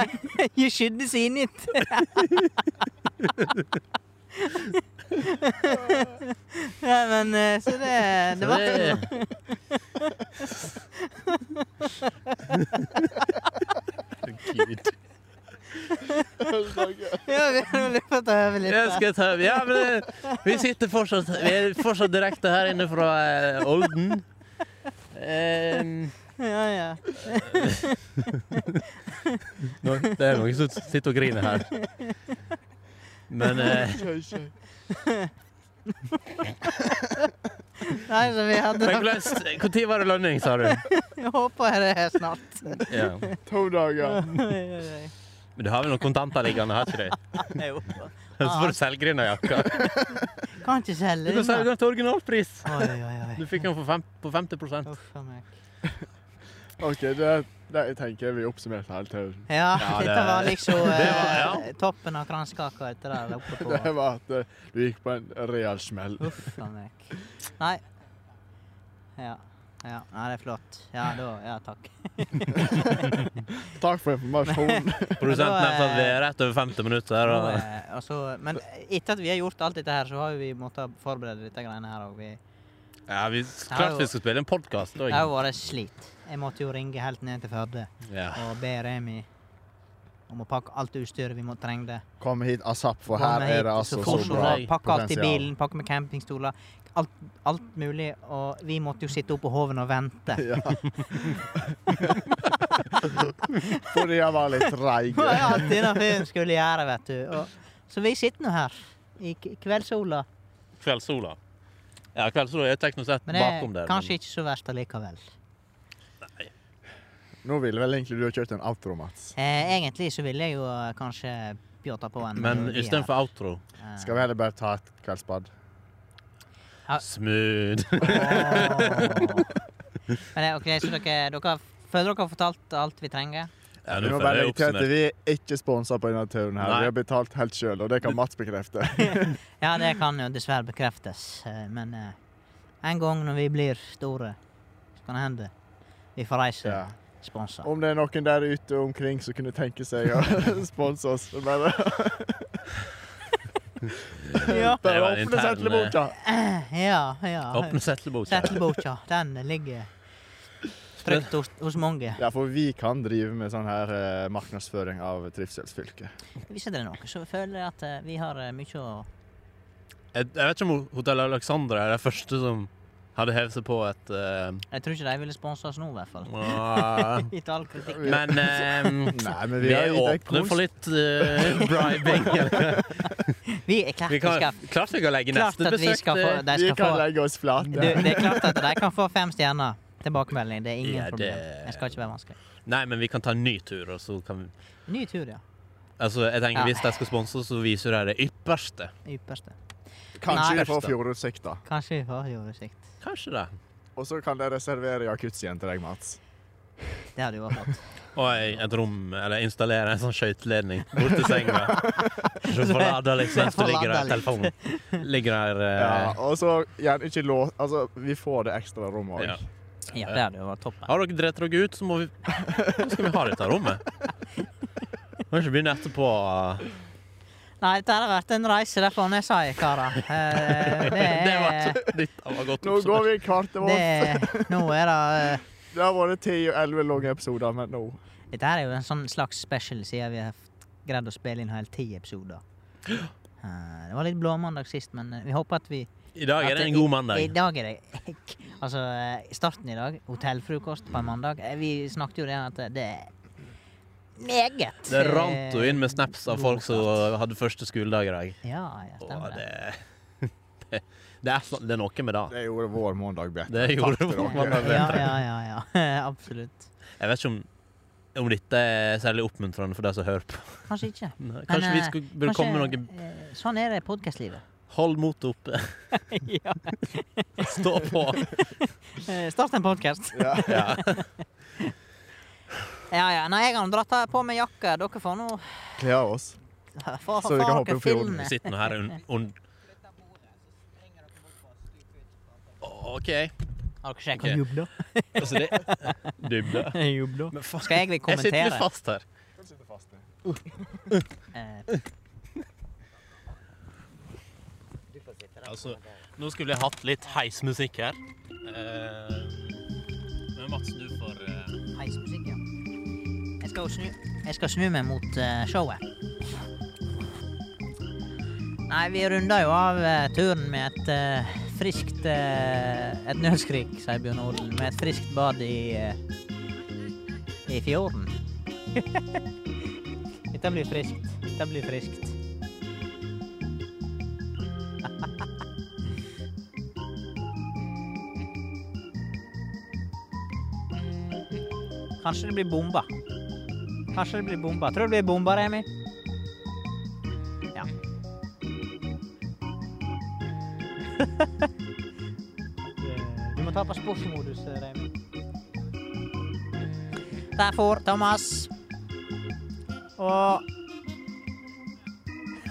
B: you should have seen it. Nei, men eh, så det, det var
A: Det- Herregud.
B: Ja, vi har nå løpt over litt.
A: Jeg
B: der.
A: skal ta, ja, men eh, vi sitter fortsatt Vi er fortsatt direkte her inne fra eh, Olden. Eh,
B: Ja, ja.
A: nå- det er noen som sitter og griner her. Men eh,
B: Nei, så vi hadde
A: men hvordan- Hvor tid var det lønning, sa du?
B: Jeg håper det er snart.
A: Ja.
C: To dager.
A: Men du har vel noen kontanter liggende, har ikke du?
B: Jo.
A: Så får du selgrinderjakka.
B: Kan ikke
A: Du
B: selge
A: kan selge
B: den. da.
A: den til originalpris.
B: Oi, oi, oi.
A: Du fikk den for fem, på 50
B: Uff a meg.
C: OK, det, det jeg tenker jeg vi oppsummerte hele tiden.
B: Ja,
A: Ja, det-
B: dette var liksom
A: det var- ja.
B: eh, toppen av kransekaka etter det der oppe på
C: Det var at eh, du gikk på en real smell.
B: Uff a meg. Nei. Ja. ja. Nei, det er flott. Ja, da Ja, takk.
C: Takk for informasjonen.
A: Produsenten
B: Men da,
A: nevnte at vi
B: eh,
A: er rett over 50 minutter.
B: Og,
A: Og,
B: eh, og så, men etter at vi har gjort alt dette her, så har jo vi måttet forberede dette greiene her òg. Det
A: ja, vi,
B: jo-
A: klart vi skal spille en podkast òg.
B: har jo vært slit. Jeg måtte jo ringe helt ned til Førde
A: Ja.
B: og be Remi om å pakke alt utstyret vi må trengte.
C: Kom hit asap, for her
B: Komme
C: er
B: hit
C: det altså
B: så
C: så
B: fort som
C: bra
B: mulig. Pakke alt i
C: potensial.
B: bilen, pakke med campingstoler. Alt, alt mulig. Og vi måtte jo sitte oppe på Hoven og vente.
C: Ja. Fordi jeg var litt treig.
B: Det var jo alt denne fyren skulle gjøre, vet du. Og, så vi sitter nå her i k- kveldssola.
A: Kveldssola. Ja, kveldssola er teknisk sett
B: Men det er
A: bakom der.
B: kanskje ikke så verst allikevel.
C: Nå ville vel egentlig du ha kjørt en outro, Mats.
B: Eh, egentlig så ville jeg jo eh, kanskje pjåta på en
A: Men
B: melodi her.
A: istedenfor outro
B: Eh,
C: Skal vi heller bare ta et kveldsbad?
B: ja, Ja.
A: Smooth.
B: Men det, ok, så dere, dere føler dere har fortalt alt vi trenger?
A: Ja,
C: Vi
A: nå
C: må
A: føler
C: bare
A: jeg
C: legge til at
A: oppsummert.
C: vi er ikke sponsa på denne turen. her.
A: Nei.
C: Vi har betalt helt sjøl, og det kan Mats bekrefte.
B: Ja, det kan jo dessverre bekreftes, eh, men eh, en gang når vi blir store, så kan det hende vi får reise
C: Ja.
B: sponsa.
C: Om det er noen der ute omkring som kunne tenke seg å sponse oss, så bare
B: Ja.
A: Det
C: Bare
A: var en
C: åpne
A: intern, eh,
C: settlebota.
B: ja, ja.
A: Åpne settlebok.
B: Settleboka, den ligger trygt hos, hos mange.
C: Ja, for vi kan drive med sånn her eh, markedsføring av trivselsfylket.
B: Hvis det er noe, så føler jeg at eh, vi har eh, mye å
A: Jeg, jeg vet ikke om Hotell Alexandra er det første som hadde hevet seg på et eh,
B: Jeg tror ikke de ville sponse oss nå, i hvert fall.
A: ah,
B: Gitt all kritikk.
A: Men eh,
C: Nei, men
A: vi
C: har
A: er
C: gitt deg
A: åpne
C: kons-
A: for litt eh, bribing. eller-
B: Vi er klart
A: Vi
B: vi
A: kan,
B: skal
A: klart vi kan legge
B: Klart
A: neste
B: at vi
A: besøk
B: skal få
A: til
B: De
C: Vi
B: skal
C: kan
B: få
C: legge oss
B: du,
C: flate.
B: Det er klart at de kan få fem stjerner. Tilbakemelding. Det er ingen
A: Ja, det-
B: problem. Jeg skal ikke være vanskelig.
A: Nei, men vi kan ta en ny tur, og så kan vi
B: Ny tur, ja.
A: Altså, jeg tenker
B: Ja.
A: Hvis de skal sponse, oss, så viser de det ypperste.
B: Ypperste.
C: Kanskje
A: Nei.
C: vi får fjordutsikt, da.
B: Kanskje vi får jordutsikt.
A: Kanskje det.
C: Og så kan dere servere jacuzzi igjen til deg, Mats.
B: Det hadde jo vært flott.
A: Og ei- et rom, eller installere en sånn skøyteledning borti senga. Så får lada liksom, så ligger der telefonen. Ligger der
C: Ja,
A: eh,
C: og så gjerne ikke lås... Altså, vi får det ekstra rommet
A: Ja.
C: òg.
B: Ja, det hadde jo vært toppen.
A: Har dere drept dere ut, så må vi Nå skal vi ha dette rommet. Kan ikke begynne etterpå.
B: Nei, dette har vært en reise, det får jeg si, karer. Eh, Det
A: Det
B: er
A: var, det var godt
C: Nå går
A: oppsummert.
C: vi i kartet
B: det,
C: vårt.
B: er- Nå er det eh,
C: Det har vært ti og elleve lange episoder, men nå
B: Dette her er jo en sånn slags special siden vi har f- greid å spille inn hele ti episoder. Eh, Det var litt blåmandag sist, men eh, vi håper at vi
A: I dag er det en god
B: I
A: mandag.
B: dag er det Altså, eh, starten i dag, hotellfrokost på en mandag eh, Vi snakket jo det at det er meget
A: Det rant jo
B: eh,
A: inn med snaps av folk som hadde første skoledag i dag.
B: Ja, ja,
A: Og
B: stemmer det.
A: det Det, det, er, sånn- det er noe med det.
C: Det gjorde vår mandag bedre.
A: Det gjorde
C: Takk
A: vår
C: til dere.
A: mandag bedre.
B: Ja, ja, ja. ja. Absolutt.
A: Jeg vet ikke om, om dette er særlig oppmuntrende for de som hører på.
B: Kanskje ikke.
A: Kanskje
B: eh,
A: vi skulle, burde komme med noe
B: eh, Sånn er det i podkastlivet.
A: Hold motet oppe. Stå på.
B: Start en podkast.
C: Ja.
A: Ja.
B: Ja, ja. Nei, jeg har nå dratt på meg jakka. Dere får nå
C: Kle av oss.
B: Får får-
C: Så vi kan
B: får
C: hoppe
B: dere
C: i fjorden.
B: filme.
A: Sitt nå her un, un, OK.
B: Har dere sjekket
A: Ok.
B: jubla?
A: Altså, det Dybde. Men faen,
B: Skal jeg vel
A: jeg sitter litt
B: kommentere?
A: fast her.
B: Eh,
A: Altså, nå skulle jeg hatt litt heismusikk her. Eh, men Mats, du får eh,
B: Heismusikk, ja. Jeg skal, jo snu, jeg skal snu meg mot eh, showet. Nei, vi runder jo av eh, turen med et eh, friskt eh, Et nødskrik, sier Bjørn Odel, med et friskt bad i eh, i fjorden. Dette blir friskt. Dette blir friskt. Kanskje det blir bomba. Kanskje det blir bomba. Tror du det blir bomba, Remi? Ja. Du må ta på sportsmodus, Remi. Der får Thomas. Og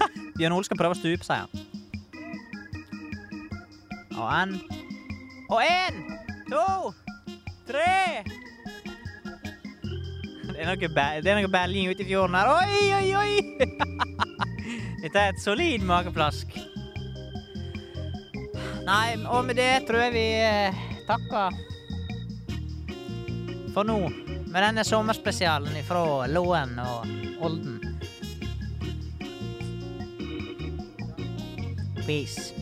B: Bjørn Ole skal prøve å stupe, sier han. Og en. Og en, to, tre det er noe, bæ- det er noe belging ute i fjorden her. Oi, oi, oi! Dette er et solid mageplask. Nei, og med det tror jeg vi eh, takker for nå. Med denne sommerspesialen fra Låen og Olden. Peace.